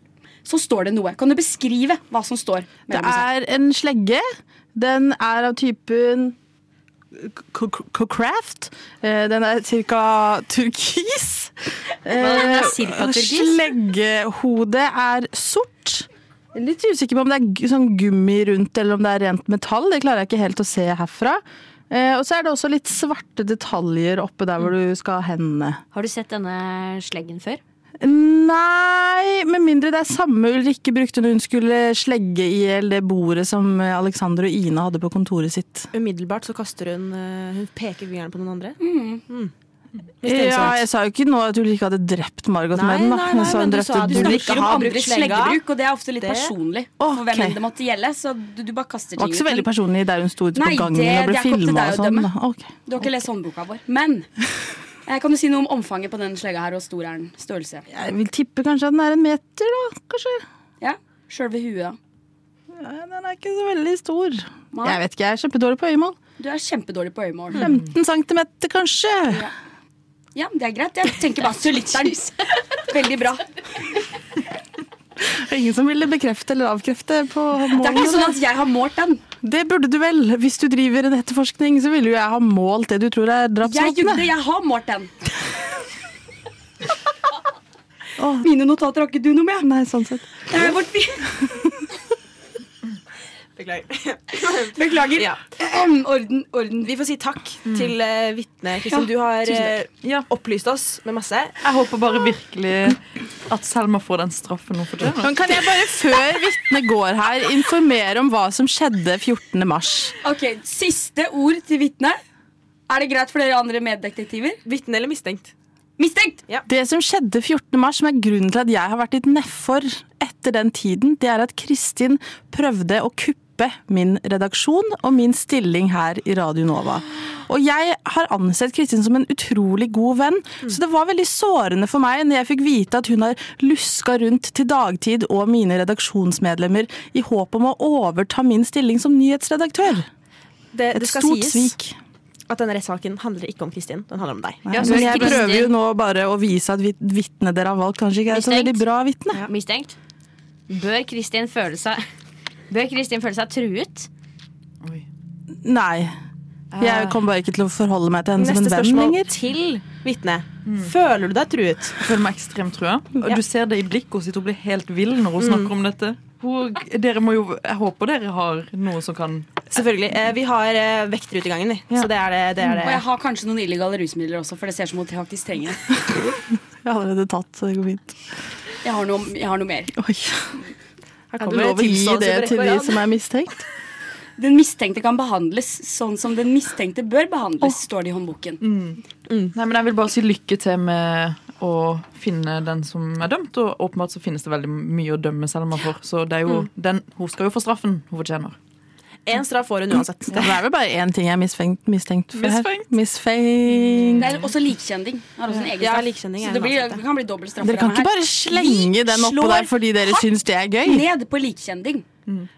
S6: så står det noe. Kan du beskrive hva som står?
S9: Det
S6: mellom oss her?
S9: er en slegge. Den er av typen k- k- k- craft. Eh, Den er ca. turkis.
S13: den er
S9: Eh,
S13: cirka
S9: og
S13: turkis?
S9: Sleggehodet er sort. Jeg er Litt usikker på om det er gu- sånn gummi rundt eller om det er rent metall. Det klarer jeg ikke helt å se herfra. Eh, Og så er det også litt svarte detaljer oppe der hvor du skal ha hendene.
S12: Har du sett denne sleggen før?
S9: Nei, med mindre det er samme Ulrikke brukte når hun skulle slegge i hjel det bordet som eh, Alexander og Ina hadde på kontoret sitt.
S21: Umiddelbart så kaster hun eh, Hun peker fingeren på noen andre. Mm. Hvis det er
S9: Ja,
S21: sant.
S9: jeg sa jo ikke nå at Ulrikke hadde drept Margot
S21: Nei,
S9: med den. da.
S21: nei,
S9: Jeg
S21: nei,
S9: sa hun
S21: men du
S9: drepte
S21: sa at du
S9: Ulrikke.
S6: Ikke om andres sleggebruk, og det er ofte litt
S9: Det-
S6: personlig for
S9: Ok.
S6: hvem enn det måtte gjelde. Så du, du bare kaster
S9: Det var
S6: ting
S9: ikke så veldig personlig der hun sto ute på
S6: Nei,
S9: gangen
S6: det-
S9: og
S6: det er ikke
S9: ble
S6: opp til
S9: filma
S6: deg
S9: og
S6: å
S9: sånn.
S6: dømme.
S9: da. Ok.
S6: Du har ikke lest håndboka vår. Men eh, kan du si noe om omfanget på den slegga her, og stor er den? Størrelse?
S9: Jeg vil tippe kanskje at den er en meter, da. Kanskje.
S6: Ja, Sjølve huet, da?
S9: Nei, Den er ikke så veldig stor.
S6: Nei. Mm.
S9: Jeg vet ikke, jeg er kjempedårlig på øyemål.
S6: Du er kjempedårlig på øyemål.
S9: 15 centimeter, kanskje.
S6: Ja, det er greit. Jeg tenker bare syliteren. Veldig bra.
S9: Det er Ingen som ville bekrefte eller avkrefte på målene.
S6: Det er ikke sånn at jeg har målt den.
S9: Det burde du vel. Hvis du driver en etterforskning, så ville jo jeg ha målt det du tror er
S6: Jeg
S9: drapsvåpenet.
S6: jugde, jeg har målt den. Mine notater har ikke du noe med.
S9: Nei, sånn sett.
S6: Eh, vårt vi-
S21: Beklager.
S6: Beklager. Orden, orden.
S21: Vi får si takk til uh, vitnet. Kristin,
S20: Ja,
S21: du har
S20: tusen
S21: eh, opplyst oss med masse.
S20: Jeg håper bare virkelig at Selma får den straffen hun
S9: Men
S20: fortjener.
S9: kan jeg bare, før vitnet går her, informere om hva som skjedde 14. mars?
S6: Ok, Siste ord til vitnet. Er det greit for dere andre meddetektiver?
S21: Vitne eller mistenkt?
S6: Mistenkt!
S9: Det som skjedde 14. mars, som er grunnen til at jeg har vært litt nedfor etter den tiden, det er at Kristin prøvde å kuppe min redaksjon og min stilling her i Radio Nova. Og jeg har ansett Kristin som en utrolig god venn, så det var veldig sårende for meg når jeg fikk vite at hun har luska rundt til dagtid og mine redaksjonsmedlemmer i håp om å overta min stilling som nyhetsredaktør.
S21: Det,
S9: Et
S21: det skal
S9: stort
S21: sies
S9: svik.
S21: at denne rettssaken handler ikke om Kristin. Den handler om deg.
S9: Ja, men jeg prøver jo nå bare å vise at vit- vitnet dere har valgt, kanskje ikke er så
S12: Mistenkt.
S9: veldig bra vitne.
S12: Mistenkt. Bør Kristin føle seg Bør Kristin føle seg truet?
S9: Nei. Jeg kommer bare ikke til å forholde meg til henne som en
S21: Eh. Neste
S9: venn
S21: spørsmål
S9: lenger.
S21: til vitne. Føler du deg truet?
S20: Mm. Jeg føler meg ekstremt trua. Og
S21: Ja. Mm.
S20: Du ser det i blikket hennes. Hun blir helt vill når hun snakker om dette. Hun, dere må jo, jeg håper dere har noe som kan
S21: Selvfølgelig. Eh, vi har eh, vekter ute i gangen, vi. Så det er det. det, er det.
S6: Og jeg har kanskje noen illegale rusmidler også, for det ser ut som hun faktisk trenger det.
S9: Jeg har allerede tatt, så det går fint.
S6: Jeg har noe, jeg har noe mer.
S9: Er det lov å gi det til de som er mistenkt?
S6: Den mistenkte kan behandles sånn som den mistenkte bør behandles, står det i håndboken.
S20: Nei, men Jeg vil bare si lykke til med å finne den som er dømt. Og åpenbart så finnes det veldig mye å dømme Selma for. Så det er jo
S21: Mm.
S20: den, hun skal jo få straffen hun fortjener.
S21: En straff får hun uansett.
S9: Det er vel bare én ting jeg er misfengt, mistenkt for her. Misfengt.
S6: Det er også likkjending. Har også en egen
S21: Ja,
S6: straff.
S21: likkjending er
S6: så det,
S21: en
S6: blir,
S21: avsatt,
S6: det kan bli dobbel straff.
S9: Dere kan ikke bare slenge den oppå der fordi dere syns det er gøy.
S6: Ned på likkjending.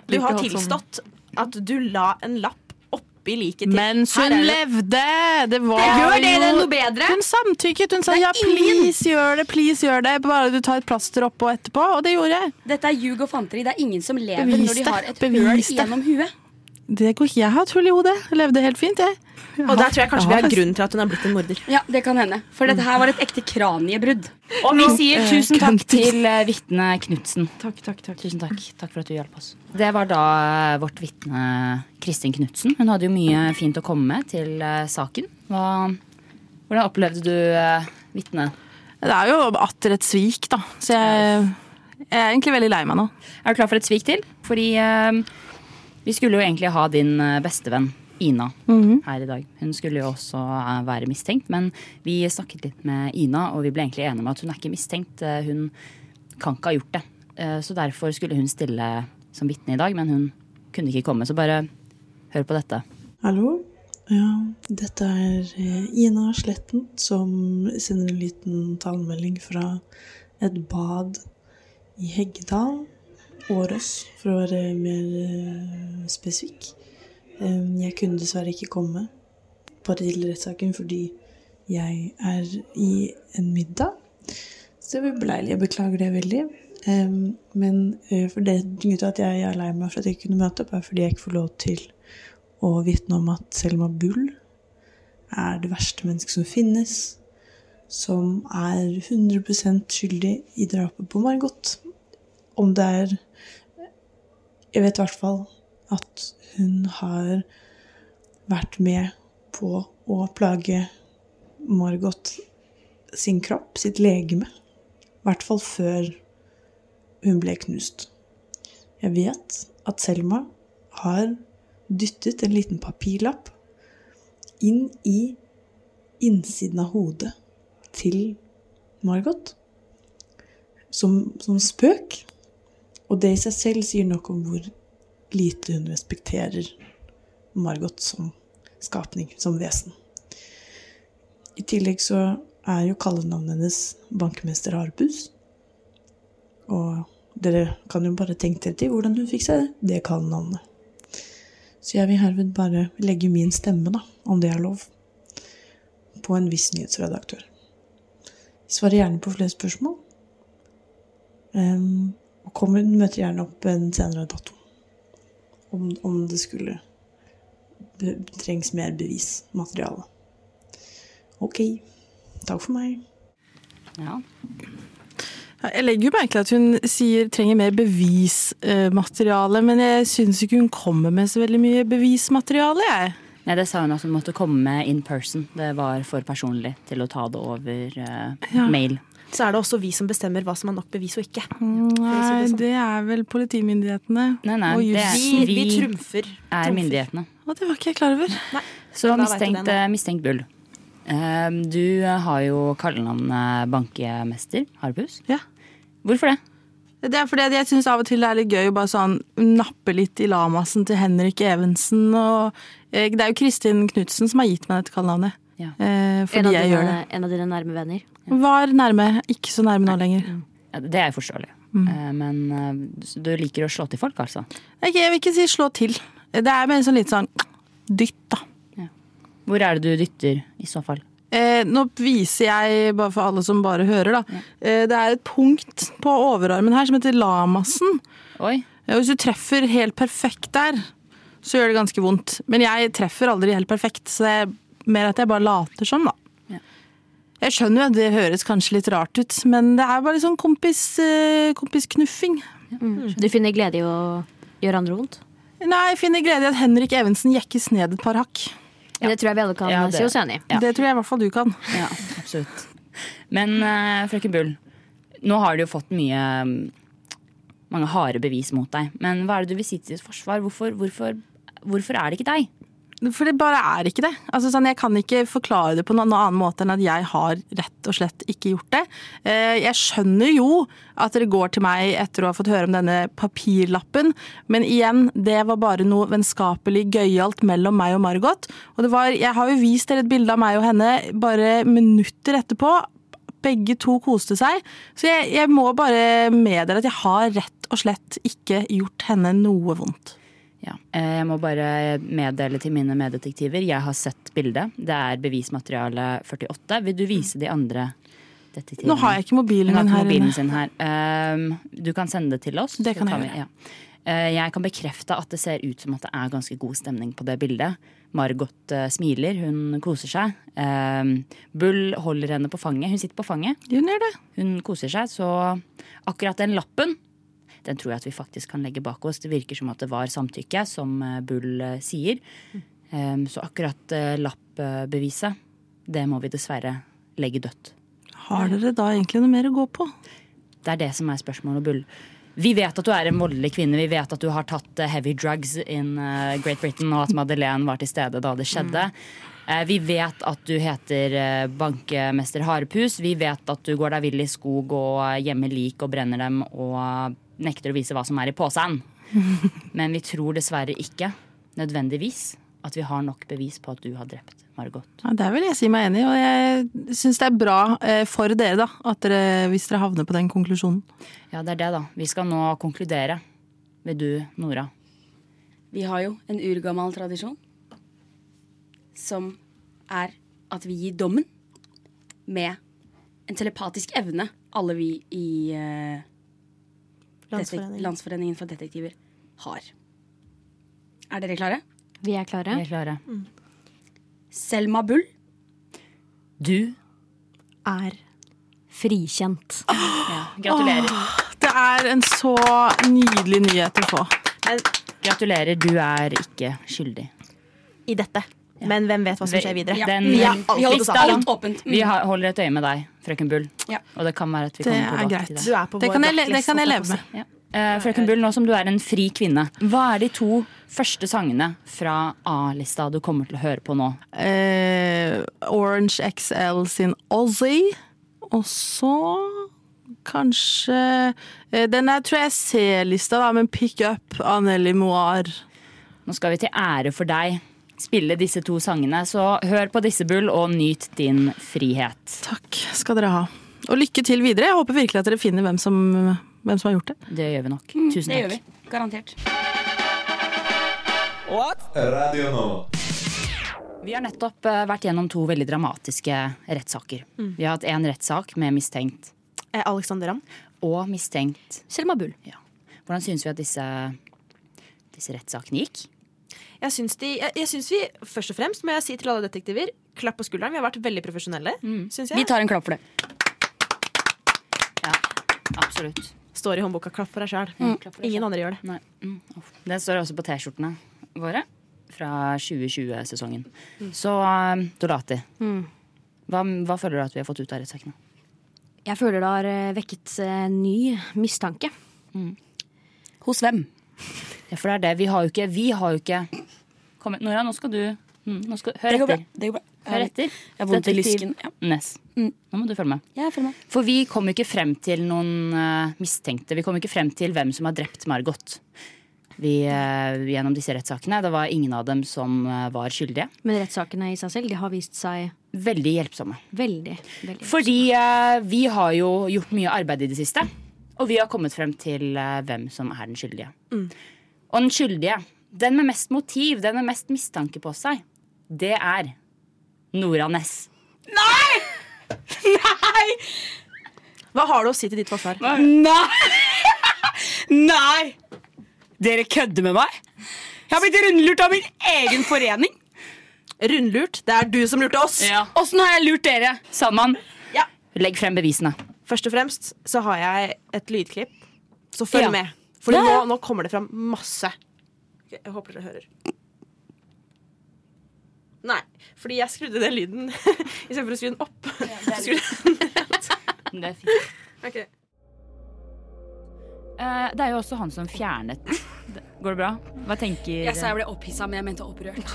S21: Du har tilstått at du la en lapp oppi liket til
S9: Mens
S21: Her
S9: hun
S21: er det.
S9: levde! Det var
S21: Det gjør
S9: jo-
S21: det den noe bedre.
S9: Hun samtykket. Hun sa ja, please gjør det, please gjør det. Bare du tar et plaster oppå etterpå. Og det gjorde jeg.
S6: Dette er ljug og fanteri. Det er ingen som lever
S9: Bevis
S6: når de
S9: det.
S6: har et
S9: Bevis
S6: høl
S9: det.
S6: gjennom huet.
S9: Det går ikke. Jeg har et hull i hodet. Jeg levde helt fint, jeg.
S21: Og der tror jeg kanskje vi har grunn til
S9: at hun er blitt en morder.
S6: Ja, det kan hende. For dette her var et ekte kraniebrudd.
S5: Og vi sier tusen takk til eh, vitne Knutsen. Takk, takk, takk. Tusen takk. Takk for at du hjalp oss. Det var da eh, vårt vitne Kristin Knutsen. Hun hadde jo mye fint å komme med til eh, saken. Hva, hvordan opplevde du eh, vitnet?
S9: Det er jo atter et svik, da. Så jeg, jeg er egentlig veldig lei meg nå.
S5: Er du klar for et svik til? Fordi eh, vi skulle jo egentlig ha din eh, bestevenn Ina
S9: Mhm.
S5: her i dag. Hun skulle jo også eh, være mistenkt, men vi snakket litt med Ina, og vi ble egentlig enige om at hun er ikke mistenkt. Eh, Hun kan ikke ha gjort det. Eh, Så derfor skulle hun stille som vitne i dag, men hun kunne ikke komme. Så bare hør på dette.
S10: Hallo. Ja, dette er eh, Ina Sletten som sender en liten talemelding fra et bad i Heggedal Årås, for å være mer eh, spesifikk. Eh, Jeg kunne dessverre ikke komme på til rettssaken fordi jeg er i en middag. Så det blir beleilig. Jeg beklager det veldig. Eh, Men eh, for det grunnen til at jeg er lei meg for at jeg ikke kunne møte opp, er fordi jeg ikke får lov til å vitne om at Selma Bull er det verste mennesket som finnes, som er 100 skyldig i drapet på Margot. Om det er Jeg vet i hvert fall at hun har vært med på å plage Margot sin kropp, sitt legeme. I hvert fall før hun ble knust. Jeg vet at Selma har dyttet en liten papirlapp inn i innsiden av hodet til Margot. Som, som spøk. Og det i seg selv sier nok om hvor lite hun respekterer Margot som skapning, som vesen. I tillegg så er jo kallenavnet hennes bankmester Arbus. Og dere kan jo bare tenke dere til hvordan hun fikk seg det kallenavnet. Så jeg vil herved bare legge min stemme, da, om det er lov, på en viss nyhetsredaktør. Svarer gjerne på flere spørsmål. Ehm, og kommer, møter gjerne opp en senere dato. Om, om det skulle be, trengs mer bevismateriale. Ok. Takk for meg.
S5: Ja.
S9: Jeg legger jo merke til at hun sier trenger mer bevismateriale, men jeg syns ikke hun kommer med så veldig mye bevismateriale, jeg.
S5: Nei, det sa hun at hun måtte komme in person. Det var for personlig til å ta det over eh,
S9: Ja.
S5: mail.
S8: Så er det også vi som bestemmer hva som er nok bevis og ikke.
S9: Nei,
S8: sånn.
S9: det er vel politimyndighetene
S5: nei,
S9: og
S5: det er-
S9: jussen.
S5: vi- Vi trumfer. Er myndighetene.
S9: Å, det var ikke jeg klar over.
S5: Så
S9: Da vet du
S5: mistenkt,
S9: det nå.
S5: eh, mistenkt bull. Eh, Du har jo kallenavnet bankemester, Harbus. Hvorfor det?
S9: Det er fordi at jeg syns av og til det er litt gøy å bare sånn nappe litt i lamasen til Henrik Evensen og eh, Det er jo Kristin Knutsen som har gitt meg dette kallenavnet. Eh,
S2: en, av
S9: fordi
S2: dine,
S9: jeg gjør det.
S2: en av dine nærme venner.
S9: Var nærme, ikke så nærme nå lenger.
S5: Ja, Det er forståelig.
S9: Mm.
S5: Eh, Men eh, så du liker å slå til folk, altså?
S9: Ok, jeg vil ikke si slå til. Det er mer sånn litt sånn dytt, da.
S5: Hvor er det du dytter, i så fall?
S9: Eh, nå viser jeg, bare for alle som bare hører, da. Eh, det er et punkt på overarmen her som heter lamasen. Eh, og hvis du treffer helt perfekt der, så gjør det ganske vondt. Men jeg treffer aldri helt perfekt, så det er mer at jeg bare later som, da. Jeg skjønner jo at det høres kanskje litt rart ut, men det er bare litt sånn kompis, eh, kompisknuffing.
S12: Du finner glede i å gjøre andre vondt?
S9: Nei, jeg finner glede i at Henrik Evensen jekkes ned et par hakk.
S12: Det tror jeg vi alle kan
S6: eh,
S5: Ja, det-
S12: si oss enig i.
S5: ja.
S9: Det tror jeg i hvert fall du kan.
S5: Ja, absolutt. Men eh, frøken Bull, nå har du jo fått mye mm, mange harde bevis mot deg. Men hva er det du vil si til ditt forsvar? Hvorfor, hvorfor, hvorfor er det ikke deg?
S9: For det bare er ikke det. Altså, sånn, jeg kan ikke forklare det på noen annen måte enn at jeg har rett og slett ikke gjort det. Eh, Jeg skjønner jo at dere går til meg etter å ha fått høre om denne papirlappen, men igjen, det var bare noe vennskapelig gøyalt mellom meg og Margot. Og det var, jeg har jo vist dere et bilde av meg og henne bare minutter etterpå. Begge to koste seg. Så jeg, jeg må bare meddele at jeg har rett og slett ikke gjort henne noe vondt.
S5: Ja. Eh, Jeg må bare meddele til mine meddetektiver. Jeg har sett bildet. Det er bevismateriale 48. Vil du vise de andre detektivene?
S9: Nå har jeg ikke mobilen
S5: Hun har
S9: min
S5: ikke mobilen
S9: her inne.
S5: sin her. Um, du kan sende det til oss.
S9: Det
S5: så
S9: kan jeg
S5: tar vi-
S9: gjøre.
S5: ja. Eh, Jeg kan bekrefte at det ser ut som at det er ganske god stemning på det bildet. Margot eh, smiler, hun koser seg. Um, Bull holder henne på fanget. Hun sitter på fanget.
S9: Hun gjør det.
S5: Hun koser seg, så akkurat den lappen den tror jeg at vi faktisk kan legge bak oss. Det virker som at det var samtykke, som eh, Bull eh, sier. Um, Så akkurat eh, lappbeviset, det må vi dessverre legge dødt.
S9: Har dere da egentlig noe mer å gå på?
S5: Det er det som er spørsmålet, Bull. Vi vet at du er en voldelig kvinne. Vi vet at du har tatt eh, heavy drugs in eh, Great Britain, og at Madeleine var til stede da det skjedde. Eh, Vi vet at du heter eh, bankemester Harepus. Vi vet at du går deg vill i skog og eh, gjemmer lik og brenner dem og eh, nekter å vise hva som er i posen. Men vi tror dessverre ikke nødvendigvis at vi har nok bevis på at du har drept Margot.
S9: Ja, Der vil jeg si meg enig, og jeg syns det er bra eh, for dere, da, at dere, hvis dere havner på den konklusjonen.
S5: Ja, det er det, da. Vi skal nå konkludere. Vil du, Nora?
S2: Vi har jo en urgammel tradisjon som er at vi gir dommen med en telepatisk evne, alle vi i eh, detek-
S6: Landsforeningen.
S2: Landsforeningen for detektiver har. Er dere klare?
S6: Vi er klare.
S5: Vi er klare.
S2: Selma Bull.
S5: Du
S6: er frikjent.
S22: Åh, det er en så nydelig nyhet å få.
S5: Gratulerer, du er ikke skyldig.
S9: I dette. Men hvem vet hva som skjer videre?
S5: Den,
S9: vi har alltid sammen.
S2: Mm,
S5: Vi har- holder et øye med deg, frøken Bull. Og det kan være at vi
S9: Det
S5: kommer
S9: er
S5: tilbake
S9: greit.
S5: til
S9: Du er på
S22: Det kan jeg le- det kan jeg leve med.
S5: Ja. Eh, frøken Bull, nå som du er en fri kvinne, hva er de to første sangene fra A-lista du kommer til å høre på nå?
S22: Eh, Orange XL sin Ozzy. Og så kanskje eh, Den er, tror jeg er C-lista, da, men Pick Up av Nelly Moir.
S5: Nå skal vi til ære for deg spille disse to sangene, så hør på disse, Bull, og nyt din frihet.
S22: Takk skal dere ha. Og lykke til videre. Jeg håper virkelig at dere finner hvem som, hvem som har gjort det.
S5: Det gjør vi nok.
S9: Mm,
S5: Tusen
S2: Det
S5: takk.
S2: gjør vi. Garantert.
S4: Radio Nova.
S5: Vi har nettopp eh, vært gjennom to veldig dramatiske rettssaker.
S9: Mm.
S5: Vi har hatt én rettssak med mistenkt
S9: Eh, Alexander Ramm.
S5: og mistenkt Selma Bull. Ja. Hvordan syns vi at disse, disse rettssakene gikk?
S9: Jeg syns, de, jeg, jeg syns vi, først og fremst må jeg si til alle detektiver, klapp på skulderen. Vi har vært veldig profesjonelle, syns jeg.
S2: Vi tar en klapp for det.
S5: Absolutt.
S9: Står i håndboka 'klapp for deg sjæl'. Ingen andre gjør det.
S5: Den står også på T-skjortene våre fra 2020-sesongen.
S2: Mm.
S5: Så eh, Dolati,
S6: Mm.
S5: hva, hva føler du at vi har fått ut av rettssakene?
S6: Jeg føler det har eh, vekket eh, ny mistanke.
S2: Hos hvem?
S5: Ja, for det er det. Vi har jo ikke, vi har jo ikke Kom, igjen, Nora, nå skal du mm, nå skal, Hør
S2: Det går bra.
S5: etter.
S2: Det går bra.
S5: Hør etter.
S2: Jeg har vondt i
S5: Detektiv
S2: lysken. Mm. Ja.
S5: Ness. Nå må du følge med.
S2: Jeg følger med.
S5: For vi kom jo ikke frem til noen eh, mistenkte. Vi kom ikke frem til hvem som har drept Margot. Vi, eh, gjennom disse rettssakene. Det var ingen av dem som eh, var skyldige.
S6: Men rettssakene i seg selv de har vist seg
S5: Veldig hjelpsomme.
S6: veldig, veldig
S5: Fordi eh, vi har jo gjort mye arbeid i det siste. Og vi har kommet frem til eh, hvem som er den skyldige.
S6: Mm.
S5: Og den skyldige, den med mest motiv, den med mest mistanke på seg, det er Nora Ness.
S9: Nei! Hva har du å si til ditt forsvar?
S23: Nei! Nei!
S2: Dere kødder med meg? Jeg har blitt rundlurt av min egen forening.
S9: Rundlurt? Det er du som lurte oss.
S5: Åssen har jeg lurt dere? Sandmann, legg frem bevisene.
S9: Først og fremst så har jeg et lydklipp, så følg
S5: Ja.
S9: med. For
S5: Ja, ja.
S9: Nå, nå kommer det fram masse. Jeg håper dere hører. Nei, fordi jeg skrudde den lyden istedenfor å skru den opp.
S5: Det er fint.
S9: Ok.
S5: Eh, det er jo også han som fjernet Går det bra? Hva tenker
S2: Jeg sa jeg ble opphissa, men jeg mente opprørt.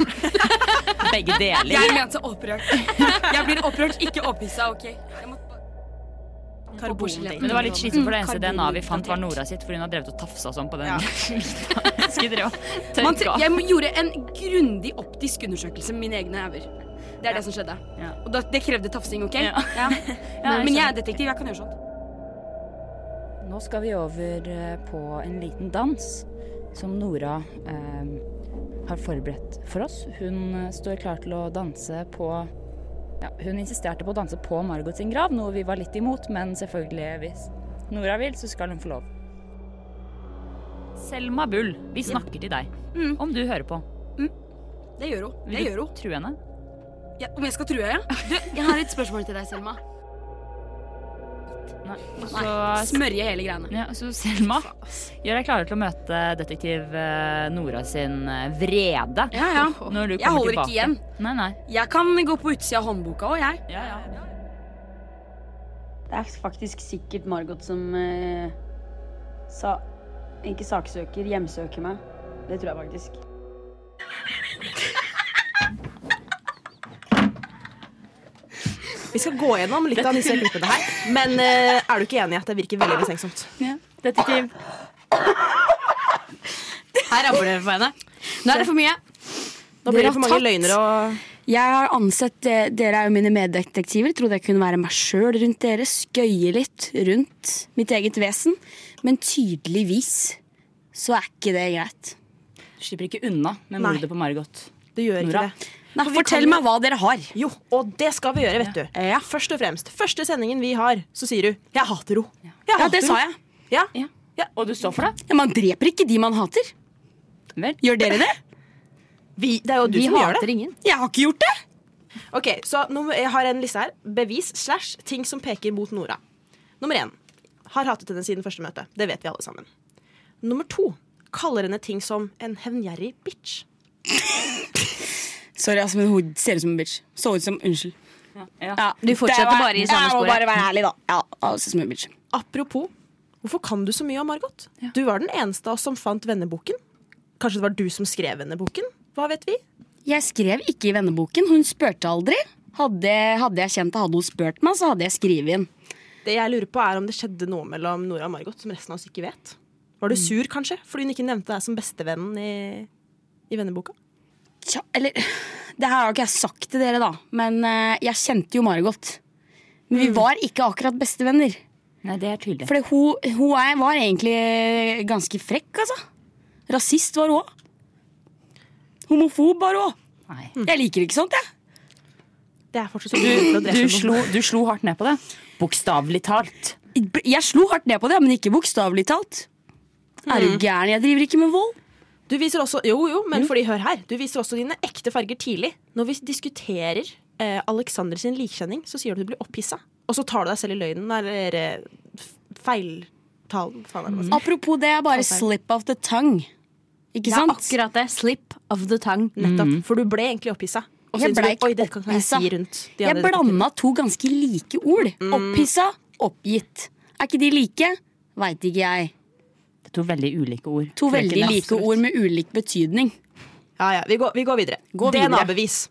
S5: begge deler?
S2: Jeg mente opprørt. Jeg blir opprørt, ikke opphissa. ok? Jeg må... Karbondating.
S5: Men det var litt slitsomt, for det eneste
S2: Mm,
S5: DNA-et vi fant, var Nora sitt, for hun har drevet og tafsa sånn på den. Skulle drevet og tørka.
S2: Man, tre- jeg gjorde en grundig optisk undersøkelse med mine egne øyne. Det er det som skjedde. Og da, det krevde tafsing, OK?
S5: Ja.
S2: Ja.
S5: Ja, jeg
S2: Men jeg er
S5: skjønner.
S2: detektiv, jeg kan gjøre sånt.
S5: Nå skal vi over eh, på en liten dans som Nora eh, har forberedt for oss. Hun eh, står klar til å danse på ja, Hun insisterte på å danse på Margot sin grav, noe vi var litt imot, men selvfølgelig, hvis Nora vil, så skal hun få lov. Selma Bull, vi snakker til deg. Om du hører på.
S2: Det gjør hun. Det
S5: Vil
S2: gjør
S5: du
S2: hun.
S5: true henne?
S2: Ja, om jeg skal true, ja? Du, jeg har et spørsmål til deg, Selma.
S5: Nei.
S2: Nei. Smørje hele greiene.
S5: Ja, så Selma, gjør deg klare til å møte detektiv eh, Nora sin eh, vrede.
S2: Ja, ja.
S5: Når du
S2: Jeg
S5: kommer
S2: holder
S5: tilbake.
S2: ikke igjen.
S5: Nei, nei.
S2: Jeg kan gå på utsida av håndboka òg, jeg.
S24: Det er faktisk sikkert Margot som eh, sa Ikke saksøker, hjemsøker meg. Det tror jeg faktisk.
S9: Vi skal gå gjennom litt av disse klippene her, men eh, er du ikke enig i at det virker veldig mistenksomt?
S5: Detektiv.
S2: Her rammer det for henne. Nå er det for mye.
S9: Nå blir det for mange løgner og
S2: Jeg har ansett eh, Dere er jo mine meddetektiver. Trodde jeg kunne være meg sjøl rundt dere. Skøye litt rundt mitt eget vesen. Men tydeligvis så er ikke det greit.
S5: Du slipper ikke unna med
S2: Nei.
S5: mordet på Margot.
S9: Du gjør ikke
S5: Nora.
S9: det.
S2: Nei, fortell meg hva dere har.
S9: Jo, og det skal vi gjøre, vet du. Først og fremst. Første sendingen vi har, så sier du 'jeg hater henne'.
S2: Ja, det sa jeg.
S9: Ja.
S5: Og du står for det?
S2: Ja, man dreper ikke de man hater. Gjør dere det?
S9: Vi, det er jo du
S2: Vi
S9: som gjør
S2: hater
S9: det.
S2: ingen. Jeg har ikke gjort det!
S9: Ok, så nummer, Jeg har en liste her. Bevis slash ting som peker mot Nora. Nummer én. Har hatet henne siden første møte. Det vet vi alle sammen. Nummer to. Kaller henne ting som en hevngjerrig bitch.
S2: Sorry, altså, men hun ser ut som en bitch. Så ut som Unnskyld. Ja,
S6: Du fortsetter
S2: det var-
S6: bare i samme
S2: Jeg må
S6: sporet.
S2: bare være ærlig, da. Ja, hun ser ut som en bitch.
S9: Apropos, hvorfor kan du så mye om Margot? Du var den eneste av oss som fant venneboken. Kanskje det var du som skrev venneboken? Hva vet vi?
S2: Jeg skrev ikke i venneboken. Hun spurte aldri. Hadde, hadde jeg kjent det, hadde hun spurt meg, så hadde jeg skrevet inn.
S9: Det jeg lurer på er om det skjedde noe mellom Nora og Margot som resten av oss ikke vet.
S2: Mm.
S9: Var du sur kanskje, fordi hun ikke nevnte deg som bestevennen i, i venneboka?
S2: Tja, eller Det her har jo ikke jeg sagt til dere, da, men eh, jeg kjente jo Margot. Men
S9: Mm.
S2: vi var ikke akkurat bestevenner.
S5: Nei, det er tydelig.
S2: For hun, hun er, var egentlig ganske frekk, altså. Rasist var hun òg. Homofob var hun òg. Jeg liker ikke sånt, jeg.
S9: Det sånn? er fortsatt
S5: Du, du, slo, du slo hardt ned på det. Bokstavelig talt.
S2: Jeg slo hardt ned på det, men ikke bokstavelig talt. Er du
S9: Mm.
S2: gæren? Jeg driver ikke med vold.
S9: Du viser også, jo, jo, men
S2: Jo.
S9: fordi, hør her. Du viser også dine ekte farger tidlig. Når vi diskuterer eh, Alexander sin likkjenning, så sier du at du blir opphissa. Og så tar du deg selv i løgnen, eller eh, f- feiltalen. Faen, er det Mm. hva jeg sier.
S2: Apropos det, er bare
S9: Feil.
S2: slip of the tongue. Ikke
S9: Ja,
S2: sant?
S9: akkurat
S6: det. Slip of the tongue.
S9: Nettopp. For du ble egentlig opphissa. Og så
S2: Jeg
S9: innså
S2: ble
S9: du,
S2: ikke
S9: Oi, det kan jeg
S2: opphissa.
S9: si rundt de
S2: Jeg
S9: andre
S2: blanda to ganske like ord. Opphissa, oppgitt. Er ikke de like? Veit ikke jeg.
S5: Det er to veldig ulike ord.
S2: To veldig
S5: Frøken,
S2: like ord med ulik betydning.
S9: Ja, ja, vi går, vi går videre.
S2: Gå videre.
S9: DNA-bevis.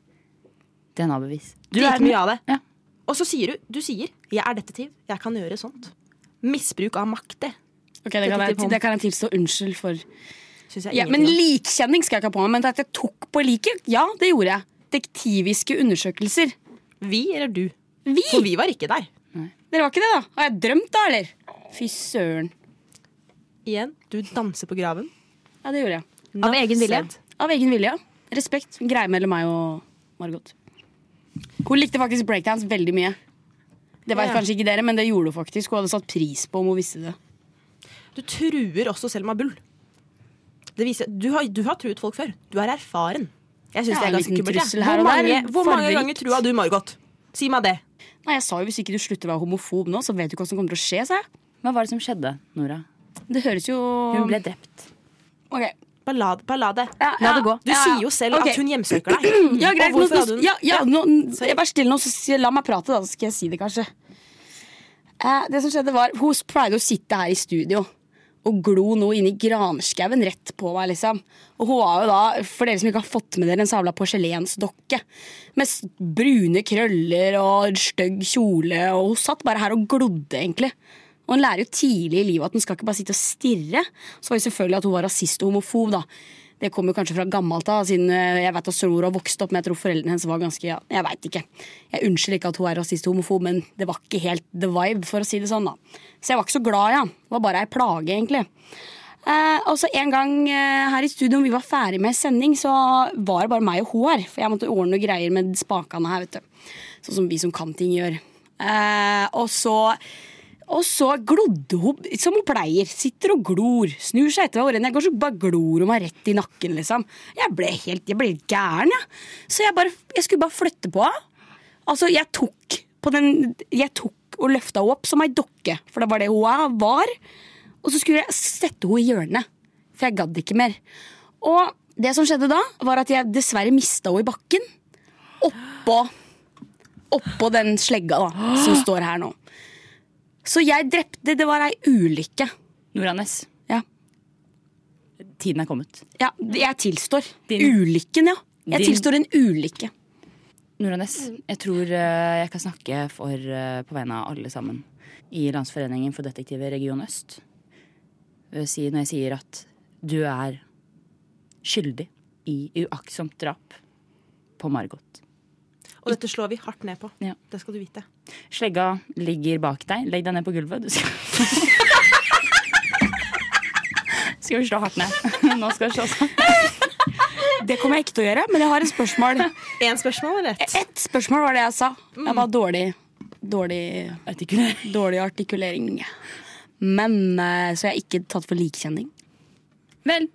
S5: DNA-bevis.
S9: Du er mye av det. Og så sier du, du sier 'jeg er detektiv, jeg kan gjøre sånt'. Misbruk av makt, det.
S2: Ok, det kan, jeg, det kan jeg tilstå unnskyld for.
S9: Synes jeg
S2: Ja, men
S9: ingenting om.
S2: likkjenning skal jeg ikke ha på meg. Men at jeg tok på liket, ja, det gjorde jeg. Dektiviske undersøkelser.
S9: Vi eller du?
S2: Vi?
S9: For vi var ikke der.
S2: Dere var ikke det, da? Har jeg drømt, da, eller? Fy søren.
S9: Igjen, du danser på graven.
S2: Ja, det gjorde jeg.
S9: Av egen vilje?
S2: Av egen vilje, ja. Respekt. Greie mellom meg og Margot. Hun likte faktisk breakdance veldig mye. Det vet
S9: Ja.
S2: kanskje ikke dere, men det gjorde hun faktisk. Hun hadde satt pris på om hun visste det.
S9: Du truer også Selma Bull. Det viser, du, har, du har truet folk før. Du er erfaren. Jeg synes
S2: Ja,
S9: det er
S2: en
S9: ganske
S2: liten
S9: kummelt.
S2: trussel
S9: jeg.
S2: her
S9: Hvor,
S2: og der,
S9: mange, hvor mange
S2: fargerikt.
S9: ganger trua du Margot? Si meg det.
S2: Nei, jeg sa jo Hvis ikke du slutter å være homofob nå, så vet du ikke hva som kommer til å skje. sa jeg.
S5: Hva var det som skjedde, Nora?
S2: Det høres jo
S5: Hun ble drept.
S2: Ok.
S9: Bare la, bare la det.
S2: Ja, ja.
S9: Du
S2: Ja, ja.
S9: sier jo selv
S2: Ok.
S9: at hun hjemsøker deg.
S2: Mm, Ja, greit.
S9: Og hvorfor
S2: Nå,
S9: hadde
S2: nå,
S9: hun-
S2: ja, ja, nå, jeg Vær stille nå, så si- la meg prate, da. Så skal jeg si det, kanskje. Eh, det som skjedde var Hun pleide å sitte her i studio og glo noe inni granskauen rett på meg. liksom. Og hun var jo da, for dere som ikke har fått med dere, en savla porselensdokke. Med s- brune krøller og stygg kjole. Og hun satt bare her og glodde, egentlig. Og en lærer jo tidlig i livet at en skal ikke bare sitte og stirre. Så var det selvfølgelig at hun var rasist og homofob, da. Det kommer jo kanskje fra gammelt av, siden eh, jeg vet at Sonora vokste opp, men jeg tror foreldrene hennes var ganske ja, Jeg vet ikke. Jeg unnskylder ikke at hun er rasist og homofob, men det var ikke helt the vibe, for å si det sånn, da. Så jeg var ikke så glad, ja. Det var bare ei plage, egentlig. Eh, og så en gang eh, her i studio, når vi var ferdig med sending, så var det bare meg og hun her. For jeg måtte ordne noe greier med spakene her, vet du. Sånn som vi som kan ting, gjør. Eh, og så og så glodde hun som hun pleier. Sitter og glor. Snur seg etter meg. og Jeg går så bare glor hun meg rett i nakken. liksom. Jeg ble helt, jeg ble helt gæren, jeg. Så jeg, bare, jeg skulle bare flytte på henne. Altså, jeg tok, på den, jeg tok og løfta henne opp som ei dokke, for det var det hun er- var. Og så skulle jeg sette henne i hjørnet, for jeg gadd ikke mer. Og det som skjedde da, var at jeg dessverre mista henne i bakken. Oppå, oppå den slegga da, som står her nå. Så jeg drepte Det var ei ulykke.
S5: Nora Ness.
S2: Ja.
S5: Tiden er kommet.
S2: Ja, jeg tilstår. Ulykken, ja. Jeg
S5: Din-
S2: tilstår en ulykke.
S5: Nora Ness, jeg tror eh, jeg kan snakke for, eh, på vegne av alle sammen i Landsforeningen for detektiver Region Øst. Eh, si- Når jeg sier at du er skyldig i uaktsomt drap på Margot.
S9: Og dette slår vi hardt ned på. Det skal du vite.
S5: Slegga ligger bak deg. Legg deg ned på gulvet. Du skal Skal vi slå hardt ned? Nå skal vi slå sånn. Det kommer jeg ikke til å gjøre, men jeg har et spørsmål.
S9: Én spørsmål eller ett?
S2: Ett spørsmål var det jeg sa. Jeg var dårlig Dårlig Mm. artikulering. Dårlig artikulering. Men eh, Så jeg er ikke tatt for likkjenning.
S5: Vel.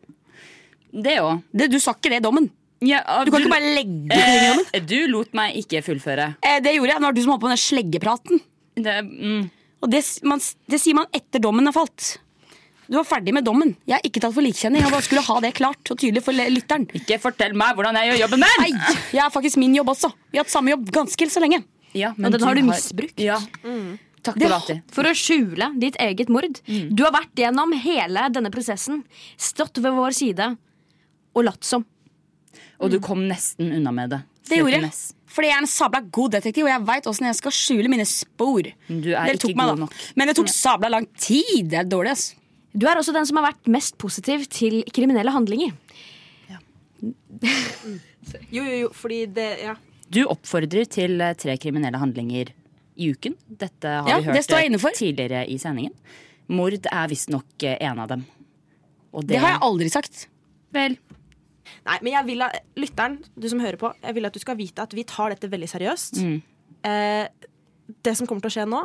S5: Det òg.
S2: Du sa ikke det i dommen. du kan ikke bare legge ting i dommen.
S5: Eh, Du lot meg ikke fullføre.
S2: Eh, Det gjorde jeg. Nå er det du som holdt på med den sleggepraten.
S5: mm,
S2: Og det, s- man, s- det sier man etter dommen har falt. Du var ferdig med dommen. Jeg er ikke tatt for likkjenning. Jeg bare skulle ha det klart og tydelig for le- lytteren.
S5: Ikke fortell meg hvordan jeg gjør jobben min!
S2: Nei, jeg er faktisk min jobb også. Vi har hatt samme jobb ganske så lenge.
S6: men den har du misbrukt.
S5: Ja. Takk til Lati.
S6: For å skjule ditt eget mord. Du har vært gjennom hele denne prosessen, stått ved vår side og latt som.
S5: Og du kom nesten unna med det.
S2: Det gjorde jeg.
S5: Frøken S.
S2: Fordi jeg er en sabla god detektiv, og jeg veit åssen jeg skal skjule mine spor.
S5: Du er
S2: Dere
S5: ikke
S2: tok meg,
S5: god
S2: da.
S5: nok.
S2: Men det tok sabla lang tid. Det er dårlig, ass.
S6: Du er også den som har vært mest positiv til kriminelle handlinger.
S2: eh.
S9: Jo, jo, jo, fordi det Ja.
S5: Du oppfordrer til eh, tre kriminelle handlinger i uken. Dette har
S9: Ja,
S5: vi
S9: det
S5: hørt
S9: står jeg
S5: eh, tidligere i sendingen. Mord er visstnok eh, en av dem. Og
S9: Det har jeg
S2: aldri sagt.
S5: Vel.
S9: Nei, men jeg vil at lytteren, du som hører på, jeg vil at du skal vite at vi tar dette veldig seriøst.
S5: Mm.
S9: Eh, det som kommer til å skje nå,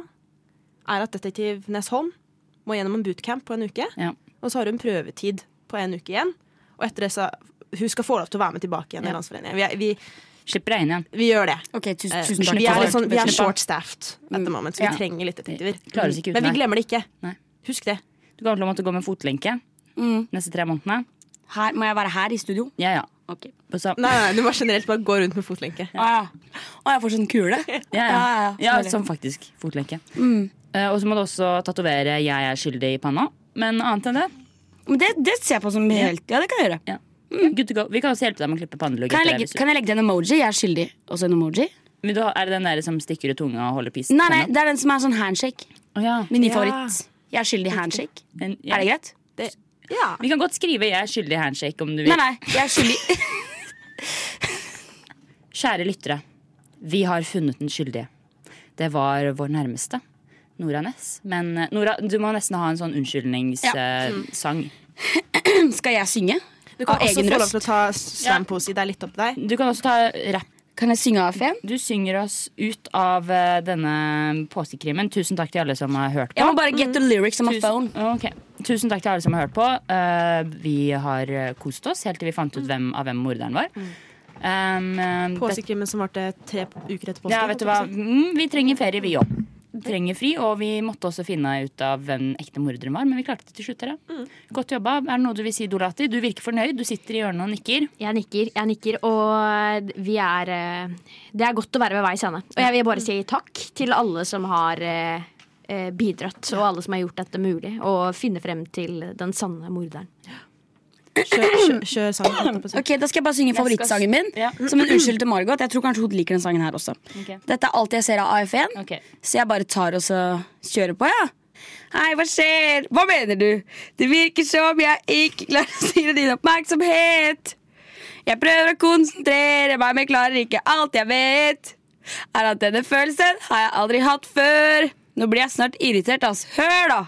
S9: er at detektiv Nesholm må gjennom en bootcamp på en uke.
S5: Ja.
S9: Og så har hun prøvetid på en uke igjen. Og etter det så hun skal få lov til å være med tilbake igjen i
S5: Ja.
S9: Landsforeningen. Vi, er- vi,
S5: Slipper deg inn igjen.
S9: vi gjør det.
S2: Ok, tusen-
S9: Eh,
S5: tusen takk.
S9: Vi
S5: Slipp
S9: er,
S5: av.
S9: litt sånn, vi er
S5: Slipp av.
S9: short staffed at the moment, så vi
S5: Ja.
S9: trenger litt detektiver.
S5: Klarer oss ikke uten
S9: Men vi
S5: deg.
S9: glemmer det ikke. Husk det.
S5: Du kan til å måtte gå med fotlenke
S2: Mm.
S5: neste tre månedene.
S2: Her, må jeg være her i studio?
S5: Ja, ja.
S2: Ok.
S5: På sam-
S9: Nei, nei, du må generelt bare gå rundt med fotlenke.
S2: Å ja. Å, jeg får sånn kule.
S5: Ja, ja. ja,
S2: Sorry.
S5: som faktisk fotlenke.
S2: Mm.
S5: Eh, Og så må du også tatovere 'jeg er skyldig' i panna. Men annet enn det
S2: Men det, det ser jeg på som helt Ja, det kan jeg gjøre.
S5: Good to go. Vi kan også hjelpe deg med å klippe pannelugg.
S2: Mm. Kan jeg,
S5: etter deg
S2: legge,
S5: hvis du-
S2: kan jeg legge til en emoji? Jeg er skyldig. Og så en emoji?
S5: Men du har- Er det den der som stikker ut tunga og holder pisten?
S2: Nei, nei, det er den som er sånn handshake. Min nye
S5: Ja.
S2: favoritt. Jeg er skyldig handshake. Er det greit?
S5: Vi kan godt skrive 'jeg er skyldig handshake' om du
S2: Nei,
S5: vil.
S2: nei, jeg er skyldig.
S5: Kjære lyttere. Vi har funnet den skyldige. Det var vår nærmeste. Nora Næss. Men eh, Nora, du må nesten ha en sånn
S2: Ja. Mm.
S5: unnskyldningssang.
S2: Skal jeg synge?
S9: Du kan
S2: Av
S9: også
S2: egen
S9: få lov
S2: røst?
S9: til å ta slampose. Det er litt opp til deg.
S5: Du kan også ta rapp.
S2: Kan jeg synge av en?
S5: Du synger oss ut av eh, denne påskekrimen. Tusen takk til alle som har hørt på.
S2: Jeg må bare get the
S6: Mm.
S2: lyrics on my
S5: Tusen, ok. Tusen takk til alle som har hørt på. Eh, vi har eh, kost oss helt til vi fant ut hvem av hvem morderen var. Um, eh,
S9: Påskekrimmen som varte tre uker etter påske.
S5: Ja, vet du hva?
S9: holdt jeg på å si.
S5: Mm, vi trenger ferie, vi òg. Trenger fri, og vi måtte også finne ut av hvem den ekte morderen var. Men vi klarte det til slutt. dere. Godt jobba. Er det noe du vil si, Dolati? Du virker fornøyd. Du sitter i hjørnet og nikker.
S6: Jeg nikker, jeg nikker, og vi er eh, Det er godt å være ved veis ende. Og jeg vil bare si takk til alle som har eh, eh, bidratt, og alle som har gjort dette mulig, og finne frem til den sanne morderen.
S9: Kjør, kjør, kjør sangen. holdt jeg på å si.
S2: Ok, Da skal jeg bare synge
S6: Jeg skal-
S2: favorittsangen min. Som en unnskyld til Margot. Jeg tror kanskje hun liker den sangen her også. Dette er alt jeg ser av AF1, så jeg bare tar og så kjører på, Ja. Hei, hva skjer? Hva mener du? Det virker som jeg ikke klarer å styre din oppmerksomhet. Jeg prøver å konsentrere meg, men klarer ikke alt jeg vet. Er at denne følelsen har jeg aldri hatt før. Nå blir jeg snart irritert, ass. Hør, da!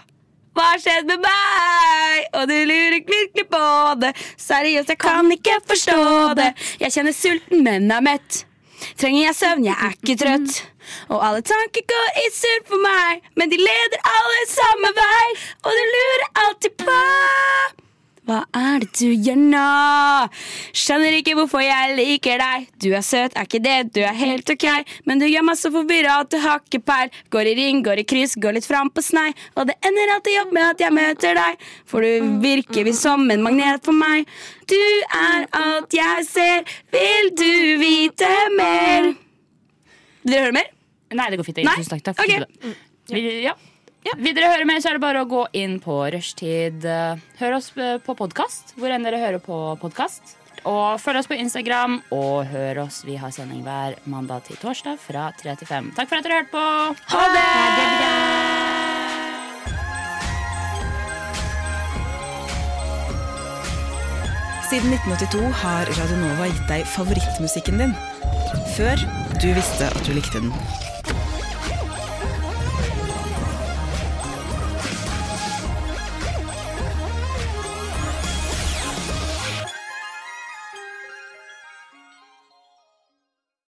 S2: Hva har skjedd med meg? Og du lurer virkelig på det. Seriøst, jeg kan ikke forstå det. Jeg kjenner sulten, men er mett. Trenger jeg søvn? Jeg er ikke trøtt. Og alle tanker går i surr for meg, men de leder alle samme vei. Og du lurer alltid på hva er det du gjør nå? Skjønner ikke hvorfor jeg liker deg. Du er søt, er ikke det, du er helt ok. Men du gjør meg så forvirra at du har ikke peil. Går i ring, går i kryss, går litt fram på snei. Og det ender alltid opp med at jeg møter deg. For du virker vi som en magnet for meg. Du er alt jeg ser, vil du vite mer? Vil dere høre mer?
S5: Nei, det går fint.
S2: Nei?
S5: Tusen takk. takk. for
S2: Ok. Mm.
S5: det. Vil, ja. Vil dere høre mer, så er det bare å gå inn på rushtid. Hør oss eh, på podkast, hvor enn dere hører på podkast. Og følg oss på Instagram, og hør oss. Vi har sending hver mandag til torsdag fra 3 til 5. Takk for at dere hørte på. Ha det!
S3: Siden 1982 har Radio Nova gitt deg favorittmusikken din. Før du visste at du likte den.